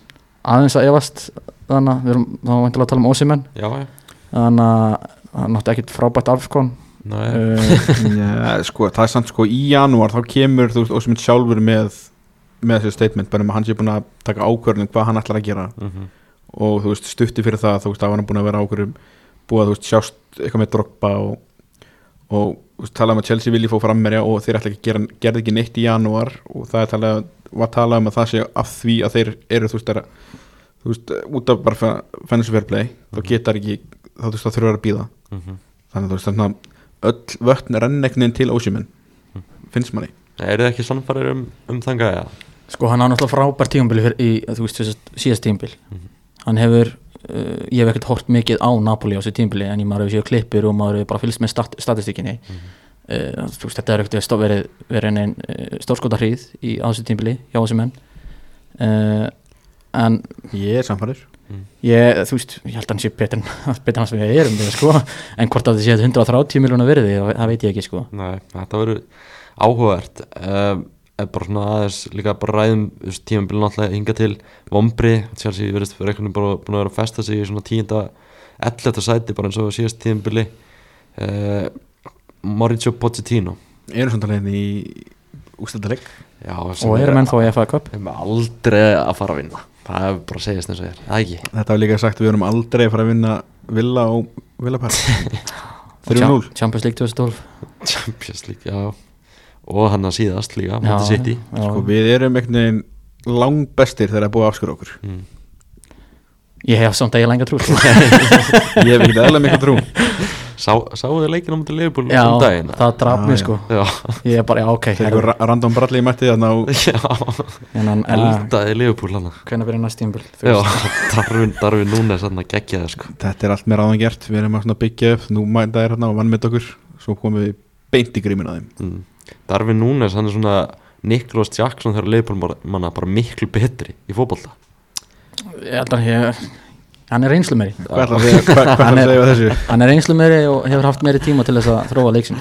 Speaker 3: aðeins að efast þannig að við erum þá veintilega að tala um Ósimenn
Speaker 1: já, já,
Speaker 3: þannig að hann nátti ekkert frábært afskon
Speaker 1: næ
Speaker 3: uh,
Speaker 2: Já, sko, það er samt sko í janúar þá kemur þú veist Ósmund sjálfur með með þessu statement, bara um að hann sé búin að taka ákvörðin hvað hann ætlar að gera
Speaker 1: mm -hmm.
Speaker 2: og þú veist stutti fyrir það þú veist að hann búin að vera ákvörðum búið að þú veist sjást eitthvað með droppa og, og þú veist, talað um að Chelsea vilji fóð frammerja og þeir ætla ekki að gera, gerði ekki neitt í janúar og það er talað, var talað um að það sé af því að þeir eru þú veist, er, þú veist út af bara fennsu fairplay þá getar ekki, þá þú veist það þurfa að býða
Speaker 1: Mm -hmm.
Speaker 2: þannig að þú veist þannig að öll vötn renna einhvern veginn til ósjumenn finnst manni
Speaker 1: er þið ekki sannfærir um, um þanga já,
Speaker 3: sko hann á náttúrulega frábært tíumbil fyrir, í, þú veist, síðast- síðast tíumbil
Speaker 1: Mhm.
Speaker 3: hann hefur, uh, ég hef ekkert hort mikið á Napoli á þessu tíumbili en ég maður hefur séu klippir og maður hefur bara fylgst með stat statistíkinni
Speaker 1: Mhm.
Speaker 3: uh, þú veist, þetta er ekkert stó- verið, verið einn uh, stórskota hríð í, á þessu tíumbili hjá þessu menn uh, en
Speaker 2: ég er samfæður
Speaker 3: ég, þú veist, ég held að hann sé betur en betur hans við erum við, sko en hvort að þið séu 130 miljónu verði, það það veit ég ekki, sko
Speaker 1: næ, þetta verður áhugavert um, er bara svona aðeins líka bara ræðum tímabilið náttúrulega hinga til vombri, Chelsea verðist fyrir einhvern veginn bara búin að vera að festa sig í svona tíunda 11. sæti bara eins og síðast tímabili uh, Mauricio Pochettino
Speaker 2: erum svona leiðin hérna í ústættaleg
Speaker 1: já, sem
Speaker 3: og
Speaker 1: er-
Speaker 3: erum ennþá í FA Cup
Speaker 1: Við erum aldrei að fara að vinna Það er bara að segja þess að það er Það ekki
Speaker 2: þetta var líka sagt við erum aldrei að fara að vinna Villa og Villapar 3-0
Speaker 3: Champ- Champions League 2012
Speaker 1: Champions League, já Og hann að síðast líka,
Speaker 3: Já,
Speaker 1: Monty City
Speaker 3: já.
Speaker 2: sko, við erum einhvern veginn langbestir þegar það er búið að afskur okkur
Speaker 1: mm.
Speaker 3: Ég hef samt að ég lengi að trú sko.
Speaker 2: ég hef ekkert eðla mikið trú
Speaker 1: Sá, Sáu þið leikina mútið Leifbúl
Speaker 3: Já,
Speaker 1: um daginn?
Speaker 3: það draf
Speaker 2: Já,
Speaker 3: mér
Speaker 2: já.
Speaker 3: sko
Speaker 1: Já,
Speaker 3: Ég er bara, já, ok hérna,
Speaker 2: þegar einhver ra- random bralli í mætti þannig að
Speaker 1: já
Speaker 3: Hvernig
Speaker 1: Eldaði Leifbúl hann
Speaker 3: verður næst tímbil?
Speaker 1: Já, Darvin, Darvin núna er sann að gegja það sko
Speaker 2: þetta er allt mér aðan gert við erum að svona byggja upp nú mæta er hérna og vann með okkur svo komum við beint í grímin að þeim
Speaker 1: mm. Darvin núna er sann svona Niklas Jackson þegar Leifbúl manna bara miklu betri í fótbolta
Speaker 3: Ég held að ég Hann er reynslu meiri
Speaker 2: hvað ætlar að segja- hvað- hvað ætlar að segja á þessu
Speaker 3: Hann er reynslu meiri og hefur haft meiri tíma til þess að þróa leiksin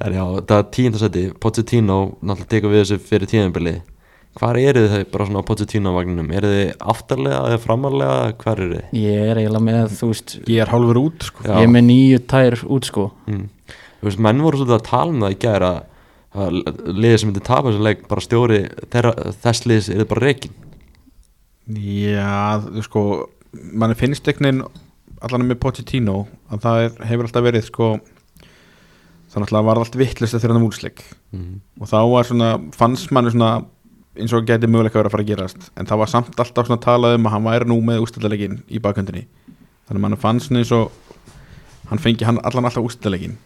Speaker 1: En já, það er tíundasæti Pochettino náttúrulega tekur við þessu fyrir tíðanbili Hvar eru þið bara svona á Pochettino-vagninum? Eru þið aftarlega eða framarlega? Hvar eru þið?
Speaker 3: Ég er eiginlega með, þú veist
Speaker 2: ég er hálfur út sko.
Speaker 1: Já.
Speaker 3: Ég er með nýju tær út sko
Speaker 1: Mm. Þú veist, menn voru svolítið að tala um það í gæra að liðið sem myndi tapa þessu leik bara stjóri þeirra, þess liðis er bara reikin
Speaker 2: Já, þú sko mann finnst einhvern veginn allan með Pochettino að það er, hefur alltaf verið sko þannig að það var allt vittlust eftir hann um úrsleik
Speaker 1: mm.
Speaker 2: og þá var svona, fannst manni svona eins og gæti möguleika að vera að fara að gerast en það var samt alltaf svona talað um að hann væri nú með úrstæðalegin í bakhöndinni þannig að mann fannst svona eins og hann fengi hann allan alltaf úrstæðalegin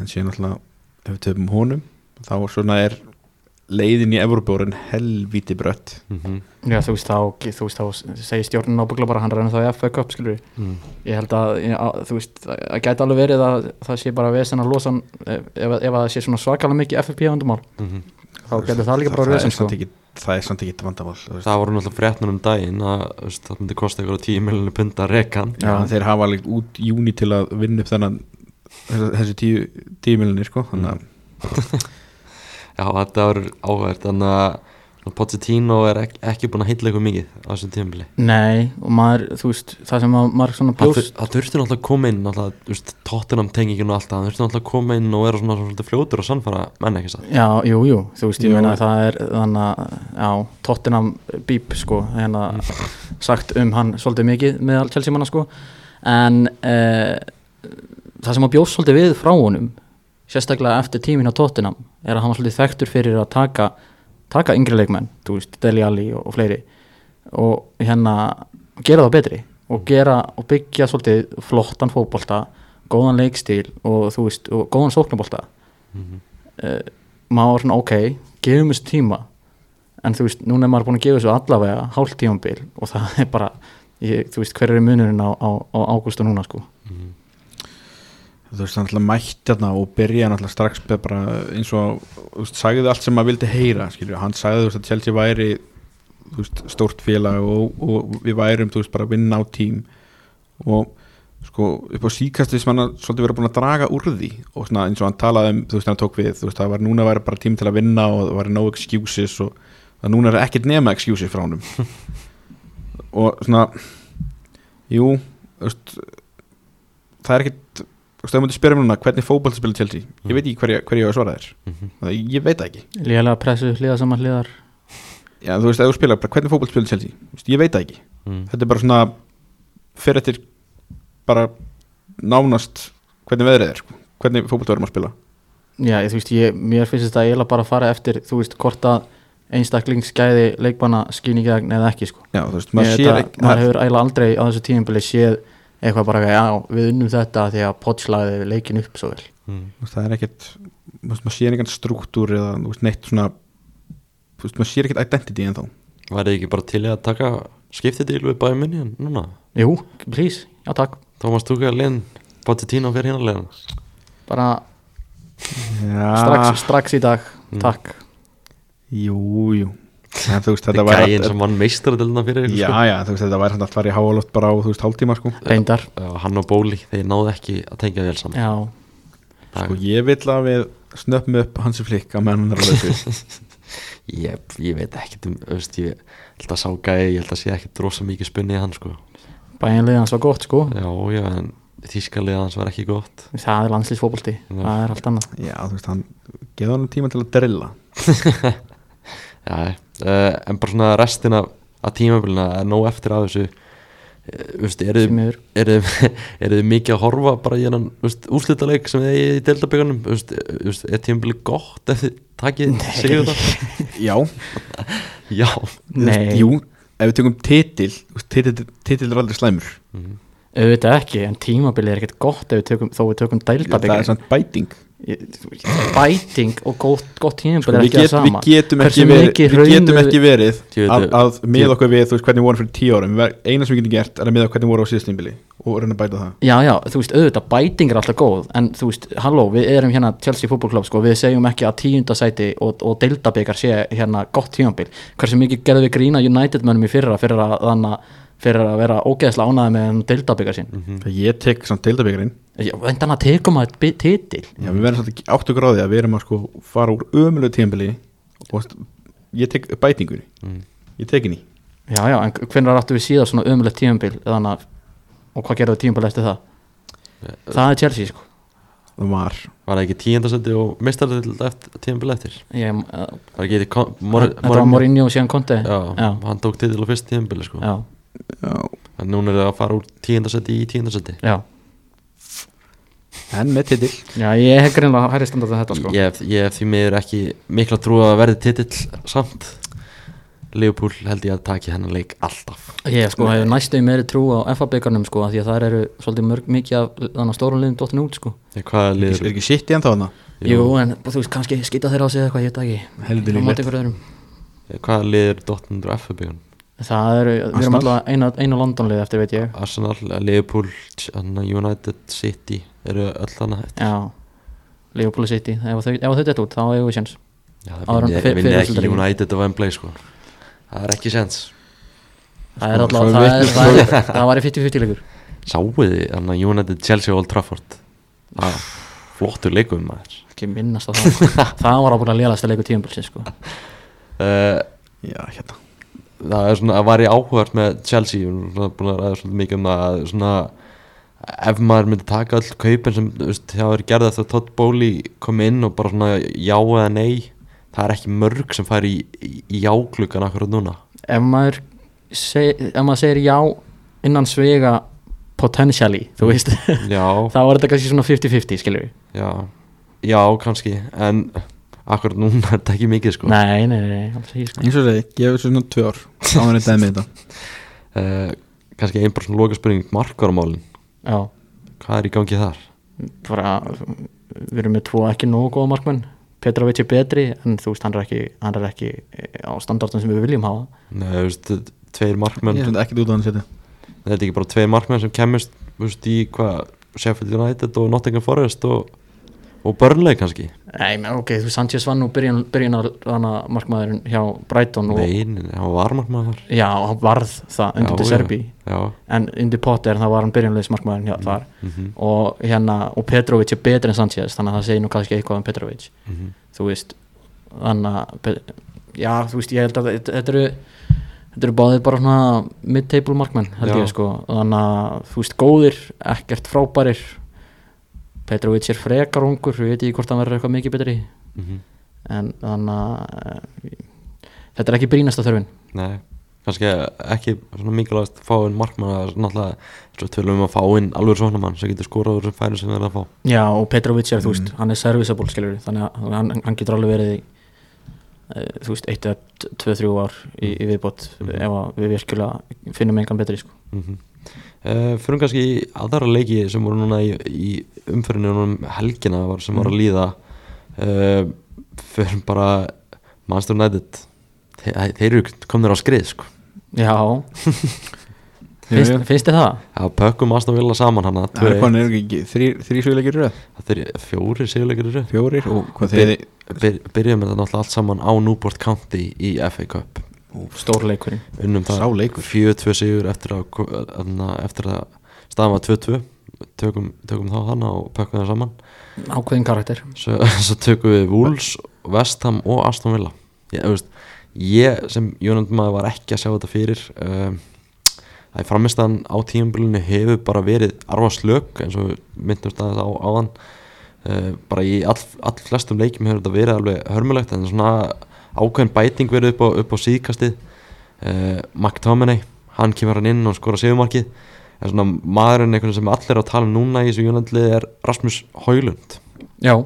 Speaker 2: en síðan alltaf ef við töfum honum þá svona er leiðin í Evropórin helvíti brött
Speaker 1: Mm
Speaker 3: Já, þú veist þá, þú veist þá segir stjórnin ábyggla bara hann er ennþá í FA Cup skilur
Speaker 1: mm.
Speaker 3: Ég held að, ég- að þú veist, að að gæti alveg verið að það sé bara vesen að losa hann ef, ef, ef að það sé svona svakalega mikið FFP vandumál
Speaker 1: Mm.
Speaker 3: þá getur það líka bara
Speaker 2: það,
Speaker 3: vesen
Speaker 2: er
Speaker 3: sko
Speaker 2: samt ekki, það er samt ekki vandamál þú veist.
Speaker 1: Það voru náttúrulega fréttnur um daginn að þú veist, það myndi kosta ykkur 10 miljonir pund að reikan
Speaker 3: Já.
Speaker 2: En þeir hafa alveg út júni til að vinna upp þennan þessa- þessu tíu, tíu miljonir sko þannig að
Speaker 1: Já, þetta voru áhverð þannig að Pochettino er ekki, ekki búin að heitla ykkur mikið á þessum tímabili
Speaker 3: Nei, og maður, þú veist, það sem að maður svona
Speaker 1: Það
Speaker 3: bjóst
Speaker 1: þur- það þurfti náttúrulega að koma inn náttúrulega, þú veist, Tottenham tengingin og allt það, það þurfti náttúrulega að koma inn og vera svona, svona svolítið fljótur og sannfara menn ekki satt
Speaker 3: Já, jú, jú, þú veist, ég
Speaker 2: Jú.
Speaker 3: meina að það er þannig að, já, Tottenham bíp, sko, hérna sagt um hann svolítið mikið með Chelsea manna, sko, en eh, það sem að bjóst svolítið við frá honum, sérstaklega eftir tímin á Tottenham, er að hann var svolítið þekktur fyrir að taka, taka yngri leikmenn, þú veist, Deli Alli og, og fleiri og hérna gera það betri og gera og byggja svolítið flottan fótbolta, góðan leikstíl og þú veist, og góðan sóknabolta
Speaker 1: mm -hmm.
Speaker 3: uh, maður var svona ok, gefum þessu tíma en þú veist, núna er maður búin að gefa þessu allavega hálft tífambil og það er bara ég, þú veist, hver er munurinn á, á, á ágúst og núna sko
Speaker 1: Mhm.
Speaker 2: þú veist, hann alltaf mætti þarna og byrja hann alltaf strax með bara eins og, þú veist, sagði allt sem maður vildi heyra, skilju, hann sagði, þú veist, að Chelsea væri, þú veist, stórt félag og, og við værum, þú veist, bara að vinna á tím og sko, upp á síkastið sem hann að- svolítið verið búin að draga úr því og svona eins og hann talaði um, þú veist, þegar hann tók við, þú veist, það var núna væri bara tím til að vinna og það væri no excuses og það núna er ekkert nema excuses frá honum og svona, jú, þú veist, það er ekkert Þú veist, ef þú myndir spyrja mér núna hvernig fótboll spila Chelsea ég veit ekki hverja, hverja ég á að svara þér
Speaker 1: Mhm.
Speaker 2: það, ég veit það ekki
Speaker 3: lélega pressu, hliða saman hliðar
Speaker 2: Já, þú veist, ef þú spila, bara, hvernig fótboll spila Chelsea Þú veist, ég veit það ekki
Speaker 1: Mm.
Speaker 2: þetta er bara svona fyrir eftir bara nánast hvernig veðrið er sko. hvernig fótboll verðum að spila
Speaker 3: já, ég, þú veist, ég, mér finnst þetta eiginlega bara að fara eftir, þú veist, hvort að einstaklingsgæði leikmanna skýn í gegn eða ekki sko
Speaker 2: Já, þú veist,
Speaker 3: maður,
Speaker 2: maður
Speaker 3: þetta,
Speaker 2: sér ekki
Speaker 3: maður
Speaker 2: það-
Speaker 3: hefur eiginlega aldrei á þessu tíðinbili séð eitthvað bara já, við unnum þetta því að potslaði leikin upp svo vel
Speaker 1: Mm.
Speaker 2: þú veist, það er ekkert þú veist, maður sér ekkert struktúr eða þú veist, neitt svona þú veist, maður sér ekkert identity en þá
Speaker 1: Værið ekki bara til í að taka skiptidil við bæði minni en núna
Speaker 3: Jú, please, já takk
Speaker 1: Tómas Tuka, Linn, Bottitín og fyrir hérna leiðan
Speaker 3: bara
Speaker 2: Já,
Speaker 3: strax, strax í dag,
Speaker 1: Mm.
Speaker 3: takk
Speaker 2: jú, jú en, þú veist,
Speaker 1: Þetta
Speaker 2: þetta
Speaker 1: er
Speaker 2: væri
Speaker 1: gæinn sem vann meistaradelna fyrir ykkur,
Speaker 2: Já,
Speaker 1: sko.
Speaker 2: já, þú veist, þetta væri samt allt farið í háaloft bara á, þú veist, hálftíma, sko
Speaker 3: reyndar,
Speaker 1: Já, Hann og Bóli, þeir náðu ekki að tengja vel saman
Speaker 3: já,
Speaker 2: Sko ég vil að við snöppum upp hansi flikk að menn hann er að lausu
Speaker 1: ég, ég veit ekkert um, veist, ég held að sá gæi, ég held að sé ekkert rosa mikið spunnið í hann sko
Speaker 3: bæinlega hans var gott sko
Speaker 1: Já, já, en þýskalið hans var ekki gott
Speaker 3: það er landslýsfóbalti,
Speaker 1: Já.
Speaker 3: það er allt annað
Speaker 2: Já, þú veist, hann geða hann tíma til að drilla
Speaker 1: Já, uh, en bara svona restina af tímabilina er nóg eftir af þessu Eh, Þú veist, eru
Speaker 3: Því miður.
Speaker 1: þið mikið að horfa bara í hennan úrslitaleik sem þið eigið í deildabögunum Þú veist, eh, þú veist, er tímabilið gott ef þið takið sigur það?
Speaker 2: Já,
Speaker 1: Já
Speaker 2: þú veist,
Speaker 3: Nei.
Speaker 2: Jú, ef við tökum titil þú veist, titil, titil er aldrei slæmur
Speaker 3: auðvitað ekki, en tímabilið er ekkert gott ef við tökum, þó við tökum
Speaker 2: Það er
Speaker 3: dældabygging
Speaker 2: samt bæting
Speaker 3: bæting og gott, gott tímabil
Speaker 2: sko,
Speaker 3: er
Speaker 2: við,
Speaker 3: ekki
Speaker 2: get,
Speaker 3: það
Speaker 2: við,
Speaker 3: sama
Speaker 2: getum ekki
Speaker 3: Hversu mikið
Speaker 2: verið, við
Speaker 3: raunum
Speaker 2: getum ekki verið
Speaker 1: Ég veit
Speaker 2: að,
Speaker 1: að-
Speaker 2: að
Speaker 1: ég-
Speaker 2: með okkur við, þú veist, hvernig við vorum fyrir tíu árum Ver- Eina sem við getum gert er að með okkur hvernig við vorum á síðustimbili og reyna að bæta það
Speaker 3: Já, já, þú veist, auðvitað, bæting er alltaf góð en þú veist, halló, við erum hérna Chelsea fútbolklubb, sko, við segjum ekki að tíundasæti og, og deildabikar sé hérna gott tímanbíl, hversu mikið gerðum við grína United mönnum í fyrra fyrir að þannig fyrir að vera ógeðslega ánæði með um deildabikar sín, mm.
Speaker 2: Ég tek samt deildabikarinn
Speaker 3: já, en þannig að tekum að titil,
Speaker 2: Já, við verðum svolítið ekki áttu gráði að við erum að sko fara úr ömulegu tímbili og st- ég tek bætingunni
Speaker 1: Mm.
Speaker 2: ég tek henni
Speaker 3: já, já, en hvernig ráttu við síðan svona ömulegt tímanbíl, þannig að og hvað gerðum við tímanbíl eftir það það er Chelsea, sko
Speaker 2: það var
Speaker 1: Var það ekki tíundasendi og meistaradelda eftir, tímabilið eftir?
Speaker 3: ég, uh,
Speaker 1: Var ekki kom, mor,
Speaker 3: þetta var Mourinho og síðan Conte
Speaker 1: Já,
Speaker 3: já,
Speaker 1: hann tók titil á fyrst tíðanbili sko
Speaker 3: já,
Speaker 2: Já,
Speaker 1: En núna er það að fara úr tíundasendi í tíundasendi
Speaker 3: já.
Speaker 2: en með titil
Speaker 3: Já, ég hef greinlega hærri standart en þetta sko
Speaker 1: Ég hef- ég hef því miður ekki mikla trú á að verði titill samt Leopold held ég að taki hennan leik alltaf
Speaker 3: Ég sko hefur næstu meiri trú á FA-byggarnum sko af því að það eru svolítið mörg mikið af þannig að stórum liðum dottin út sko
Speaker 1: Ég, Hvað er
Speaker 2: Er
Speaker 1: liður?
Speaker 2: ekki sitt í ennþá hana?
Speaker 1: Jú.
Speaker 3: Jú, en þú veist kannski skita þeirra á sig eða eitthvað, ég veit það ekki
Speaker 2: Heldur
Speaker 3: Á móti
Speaker 2: líklegt
Speaker 3: einhverjum öðrum.
Speaker 1: Hvað er liður Dottundur F-byggun?
Speaker 3: Það eru, við erum
Speaker 2: Arsenal?
Speaker 3: alltaf eina, eina Londonlið eftir veit ég
Speaker 1: Arsenal, Leopold, United City eru öll þannig eftir
Speaker 3: Já, Liverpool City ef þau, ef þau dett út, þá hefur við sjans
Speaker 1: Já,
Speaker 3: Áður en
Speaker 1: það vinni-
Speaker 3: fyr-
Speaker 1: vinni
Speaker 3: fyrir
Speaker 1: ekki
Speaker 3: úrslitaleikinn.
Speaker 1: United og Wembley sko Það er ekki sens
Speaker 3: Það
Speaker 2: Sko,
Speaker 3: er alltaf,
Speaker 2: svo
Speaker 3: það,
Speaker 2: við-
Speaker 3: er, það, er, það var í 50-50 leikur
Speaker 1: Sáuð þið hann að United, Chelsea og Old Trafford Það er Ah, flottur leikum maður
Speaker 3: Ekki minnast á það sko. Það var ábúinlega lélægsta leikur tíðanbilsin sko
Speaker 1: uh,
Speaker 2: Já, hérna
Speaker 1: það er svona að væri áhugart með Chelsea við erum svona búin að ræða svolítið mikið um það að svona ef maður myndi taka öll kaupin sem þú veist, það er gerða þegar Todd Bowley kom inn og bara svona já eða nei það er ekki mörg sem fær í, í- í jáklukkan akkur á núna
Speaker 3: ef maður, seg, ef maður segir já innan svega potentially, þú veist
Speaker 1: já,
Speaker 3: þá er þetta kannski svona 50-50 skilur við
Speaker 1: já, já kannski en akkur núna er þetta ekki mikið sko
Speaker 3: nei, nei, nei, nei, alls ekki sko.
Speaker 2: Eins og segi, gefur þessu svona tvö ár Þá er þetta með þetta
Speaker 1: uh, kannski einn bara svona loka spurning markvarmálin,
Speaker 3: já,
Speaker 1: hvað er í gangi þar?
Speaker 3: bara við erum með tvo ekki nógu góða markmenn Petrovic er betri en þú veist hann er ekki, hann er ekki eh, á standartum sem við viljum hafa
Speaker 1: Nei, þú veist, tveir markmenn
Speaker 2: Ég finnst ekki út á hann setja
Speaker 1: þetta er ekki bara tveir markmenn sem kemist þú veist, í hvað Sheffield United og Nottingham Forest og, og Burnley kannski
Speaker 3: Nei, menn, ok, þú veist, Sanchez var nú byrjun, byrjunar hana markmaðurinn hjá Brighton og,
Speaker 1: Nei, nei, hann var markmaður
Speaker 3: já, hann varð það undir
Speaker 1: Já,
Speaker 3: til Serbi
Speaker 1: Já,
Speaker 3: en undir Potter þá var hann byrjunleis markmaðurinn hjá þar
Speaker 1: mm -hmm,
Speaker 3: og hérna, og Petrovic er betri en Sanchez þannig að það segir nú kannski eitthvað um Petrovic
Speaker 1: mm -hmm.
Speaker 3: þú veist þannig að Pe- já, þú veist, ég held að þetta- þetta eru þetta eru báðir bara svona mid-table markmenn, held
Speaker 1: Já.
Speaker 3: ég sko þannig að, þú veist, góðir, ekkert frábærir Petrovic er frekar ungur, við veit ekki hvort hann verður eitthvað mikið betri
Speaker 1: mhm.
Speaker 3: en þannig að eh, þetta er ekki brínasta þörfin
Speaker 1: Nei, kannski ekki svona mikilvægast fá inn markmann að náttúrulega svo tölum við um að fá inn alveg svona mann sem getur skorað úr þessum færi sem það er að fá
Speaker 3: já, og Petrovic er, þú veist, hann er serviceable skilur, þannig að hann, hann getur alveg verið í eh, þú veist, eitt eða t- tvö, þrjú ár í, í viðbót
Speaker 1: Mhm.
Speaker 3: ef að við virkilega finnum engan betri sko.
Speaker 1: mm -hmm. Fyrir kannski í aðra leiki sem voru núna í, í umferðinu núna um helgina var, sem var
Speaker 2: Mhm.
Speaker 1: að líða uh, fyrir bara Manchester United Þe, þeir eru komnir á skrið sko
Speaker 3: já,
Speaker 2: Jú,
Speaker 3: Finnst,
Speaker 2: jú.
Speaker 3: finnst þið það?
Speaker 1: að pökkum Aston Villa saman hana
Speaker 2: Það er hvað, er ekki þrý söguleikir röð,
Speaker 1: þetta er fjóri sigurleikir í röð.
Speaker 2: fjórir og hvað
Speaker 1: Þeir-
Speaker 2: þeir
Speaker 1: Byr, byrjum þetta náttúrulega allt saman á Newport County í FA Cup
Speaker 3: Stórleikurinn
Speaker 1: unnum
Speaker 2: sá
Speaker 1: það
Speaker 2: leikur
Speaker 1: 4-2 sigur eftir að, ko- þarna, eftir að staðan var 2-2 tökum, tökum þá hana og pökkum það saman
Speaker 3: Ákveðin karakter
Speaker 1: svo, svo tökum við Wolves, Vestham og Aston Villa ég, þú veist, ég sem Jónand maður var ekki að sjá þetta fyrir um, að framistan á tímabilinu hefur bara verið arfa slök eins og við myndumst að þetta á áðan uh, bara í all, all flestum leikim hefur þetta verið alveg hörmulegt en svona ákveðin bæting verið upp á, upp á síðkastið uh, McTominay, hann kemur hann inn og skora sigumarkið en svona maðurinn einhvern sem allir eru að tala um núna í þessu Jónandlið er Rasmus Haulund
Speaker 3: Já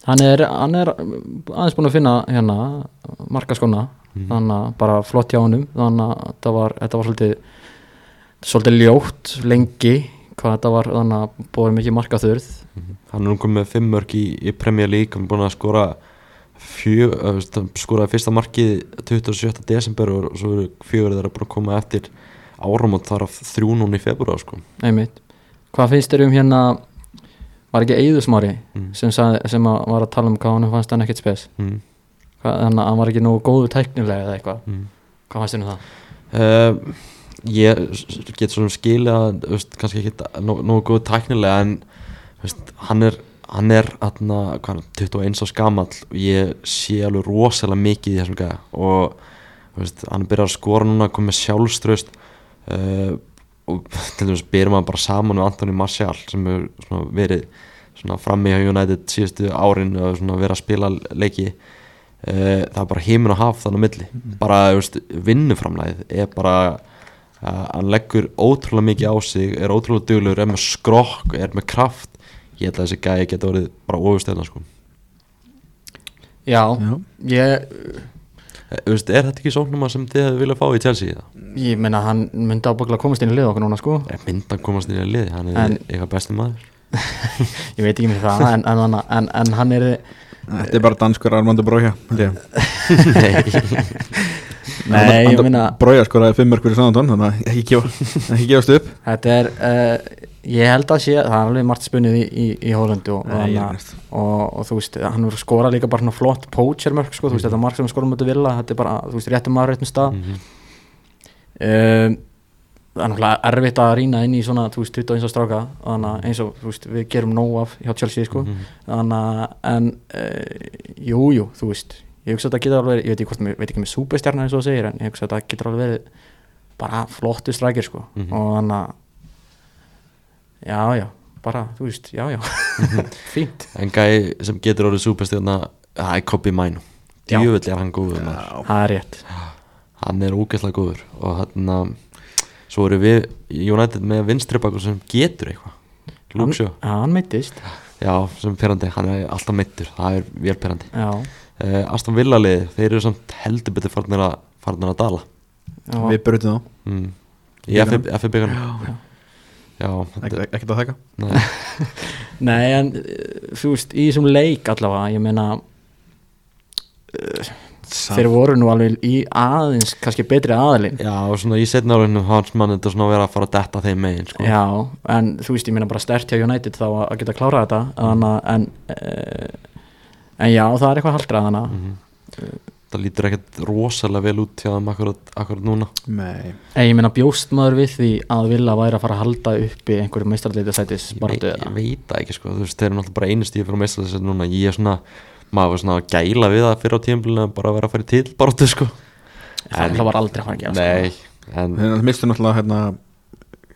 Speaker 3: Hann er, hann er aðeins búin að finna hérna markaskona þannig að bara flott hjá honum þannig að þetta var, þetta var svolítið svolítið ljótt lengi hvað þetta var þannig að búið mikið markaþurð
Speaker 1: hann er nú komið með fimm mörg í, í Premier League hann er búin að skora fjö, eh, veist, hann skoraði fyrsta markið 27. desember og svo eru fjögur þeirra búin að koma eftir árum og þar af þrjú núna í februar sko.
Speaker 3: einmitt Hvað finnst þér um hérna var ekki Eyðusmári
Speaker 1: mm.
Speaker 3: sem, sagði, sem að var að tala um hvað hann fannst hann ekkert spes
Speaker 1: Mm.
Speaker 3: hvað, þannig að hann var ekki nógu góðu tæknilega eða eitthvað
Speaker 1: Mm.
Speaker 3: Hvað fannst þér um það?
Speaker 1: Uh, ég s- s- get svona skilið að þú veist, kannski ekki þetta- nó- nógu góð tæknilega en þú veist, hann er hann er atna, hvað, er hann, 21 á skamall og ég sé alveg rosalega mikið í þessum gæða og þú veist, hann byrjar að skora núna að koma með sjálfströst uh, og til dæmis byrjum hann bara saman við Antoni Marcial sem hefur svona verið svona frammi hjá United síðustu árin og svona verið að spila leiki uh, það er bara heimin og haf þannig á milli
Speaker 3: Mm-hmm.
Speaker 1: bara þú veist, vinnuframlæðið er bara uh, hann leggur ótrúlega mikið á sig er ótrúlega duglur, er með skrokk er með kraft, ég held að þessi gæi geta orðið bara ofurstæðna sko
Speaker 3: Já,
Speaker 2: Já.
Speaker 3: ég,
Speaker 1: Eh, þú veist, er þetta ekki sóknum sem þið hefði viljað fá í Chelsea það?
Speaker 3: ég meina hann myndi ábygglega komast inn í lið okkar núna sko
Speaker 1: er myndan komast inn í liði, hann er
Speaker 3: En-
Speaker 1: eitthvað besti maður
Speaker 3: ég veit ekki með það en, en, en, en, en hann er
Speaker 2: Þetta er bara danskur Armando Brója
Speaker 3: nei, ég meina
Speaker 2: Brója skoraði fimm mörg fyrir Sándón þannig að ekki gefa- ekki gefast upp
Speaker 3: þetta er, uh, ég held að sé það er alveg margt spunnið í, í, í Hólandu og,
Speaker 2: Nei, ég er
Speaker 3: og,
Speaker 2: næst.
Speaker 3: og, og þú veist, hann verður skora líka bara svona flott poachermörk sko, þú veist, þetta mark sem skora mútið vilja, þetta er bara, þú veist, réttum maður réttum stað
Speaker 1: Mhm.
Speaker 3: um, það er náttúrulega erfitt að rýna inn í svona, þú veist, 21 stráka þannig að eins og, þú veist, við gerum nóg af hjá Chelsea, sko,
Speaker 1: Mhm.
Speaker 3: þannig að en, uh, jú, jú, þú veist ég hugsa að þetta getur alveg, verið- ég veit ekki hvort, ég veit ekki með súpestjarna eins og það segir, en ég hugsa að þetta getur alveg verið bara flottu strækir, sko
Speaker 1: Mhm.
Speaker 3: og þannig að já, já, bara, þú veist, já, já fínt
Speaker 1: en gæi sem getur orðið súpestjarna það er Kobi Mænu
Speaker 3: Já.
Speaker 1: djöfull er hann góður maður
Speaker 3: það er rétt,
Speaker 1: hann er ógeðslega góður og hann svo eru við United með vinstri bakur sem getur eitthvað
Speaker 3: hann,
Speaker 1: Lúksjó,
Speaker 3: hann meittist
Speaker 1: já, sem perandi hann er alltaf meittur, það er vel perandi
Speaker 3: já,
Speaker 1: uh, Aston Villa liði, þeir eru samt heldur betur farnir að, farnir að dala
Speaker 3: já,
Speaker 2: Við brutum þá,
Speaker 1: mm. í
Speaker 2: Byggarnum.
Speaker 1: FB byggarnum já,
Speaker 2: Ek-
Speaker 1: þetta
Speaker 2: ekkert að þekka
Speaker 1: nei,
Speaker 3: Nei, en eh, þú veist, í þessum leik allavega, ég meina
Speaker 1: Samt-
Speaker 3: þeir voru nú alveg í aðeins kannski betri aðalinn
Speaker 1: Já, og svona í setna álinnum hans mann þetta svona að vera að fara að detta þeim megin sko.
Speaker 3: Já, en þú veist, ég meina bara stert hjá United þá að að geta klárað þetta þannig að, en, uh, en já, það er eitthvað haldrað þannig að
Speaker 1: Mhm. Það lítur ekkert rosalega vel út hjá þeim akkurat, akkurat núna
Speaker 2: Nei,
Speaker 3: En ég meina bjóst maður við því að vilja væri að fara að halda uppi einhverju meistarleita sætis
Speaker 1: Ég,
Speaker 3: bara
Speaker 1: veit- ég veit það ekki sko, þú veist, þeir eru náttúrulega bara einu stíð fyrir meistar þess að núna ég er svona, maður var svona að gæla við það fyrir á tímbilinu en bara að vera að fara í til bara sko En-
Speaker 3: það var aldrei að fara að sko. gera
Speaker 1: Nei, en
Speaker 2: þannig að mistu náttúrulega hérna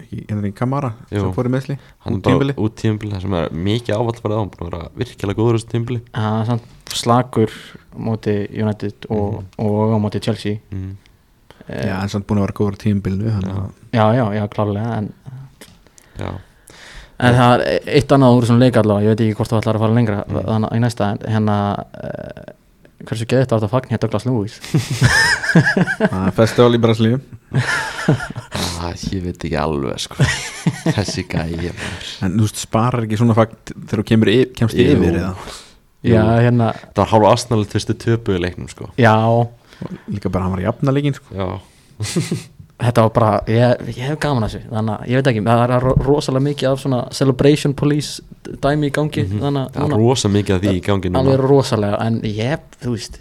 Speaker 2: ekki- hérna í Kamara
Speaker 1: Jú.
Speaker 2: sem fór í meðsli
Speaker 1: hann er
Speaker 2: út
Speaker 1: bara
Speaker 2: tímabili.
Speaker 1: út tímbilinu sem er mikið ávall fyrir það, hann er búin að vera virkilega góður á þessu tímbili
Speaker 3: Það er samt slagur á móti United og, og á móti Chelsea
Speaker 1: mm.
Speaker 3: Eh,
Speaker 2: Já, hann er samt búin að vera góður á tímabilinu þannig að
Speaker 3: Já, já, já, klárlega en,
Speaker 1: Já,
Speaker 3: en það er eitt annað úr þessum leik allavega ég veit ekki hvort þú ætlar að fara lengra
Speaker 1: Mm.
Speaker 3: þannig að í næsta, en hérna uh, hversu geðið þetta var þetta fagn hér Douglas Lewis
Speaker 2: það er festival í Brasilíu
Speaker 1: ah, ég veit ekki alveg sko Þessi gæi maður.
Speaker 2: en þú veist, sparar ekki svona fakt þegar þú kemur yf- kemst
Speaker 1: Jú.
Speaker 2: yfir eða
Speaker 1: Jú.
Speaker 3: Já, hérna,
Speaker 1: Það var hálfa aðsnalit fyrstu töpu í leiknum sko
Speaker 3: já
Speaker 2: líka bara hann var í jafnalegin sko.
Speaker 1: Já,
Speaker 3: þetta var bara, ég, ég hef gaman að þessu þannig að, ég veit ekki, það er ro- rosalega mikið af svona celebration police dæmi í gangi,
Speaker 1: Mhm.
Speaker 3: þannig
Speaker 1: það er
Speaker 3: að núna-
Speaker 1: rosa mikið af því í gangi núna
Speaker 3: alveg rosalega, en ég, þú veist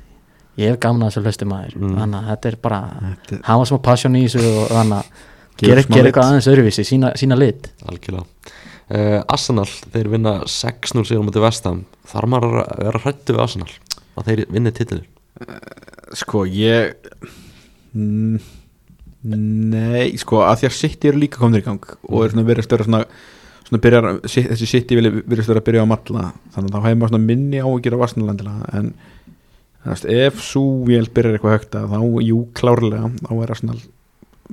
Speaker 3: ég hef gaman að þessu hlustu maður
Speaker 1: Mm.
Speaker 3: þannig að þetta er bara,
Speaker 2: Þetta er-
Speaker 3: hafa smá passion í þessu og þannig að
Speaker 2: Gera
Speaker 3: gera,
Speaker 2: smá
Speaker 3: gera
Speaker 2: lit.
Speaker 3: eitthvað aðeins öðruvísi, sína, sína lit
Speaker 1: Algjörlega uh, Arsenal, þeir vinna 6-0 sigur á mútið vestam Þar maður að vera hrættu við Arsenal að þeir vinni titil
Speaker 2: sko, ég Mm, nei, sko, að því að City eru líka komnir í gang og er svona verið störa svona, svona byrjar, City- þessi City vilja verið störa að byrja á matla þannig að þá hefur maður svona minni ágjur á Arsenal-landilega en þú veist, ef svo vél byrjar eitthvað högt að þá, jú, klárlega þá er Arsenal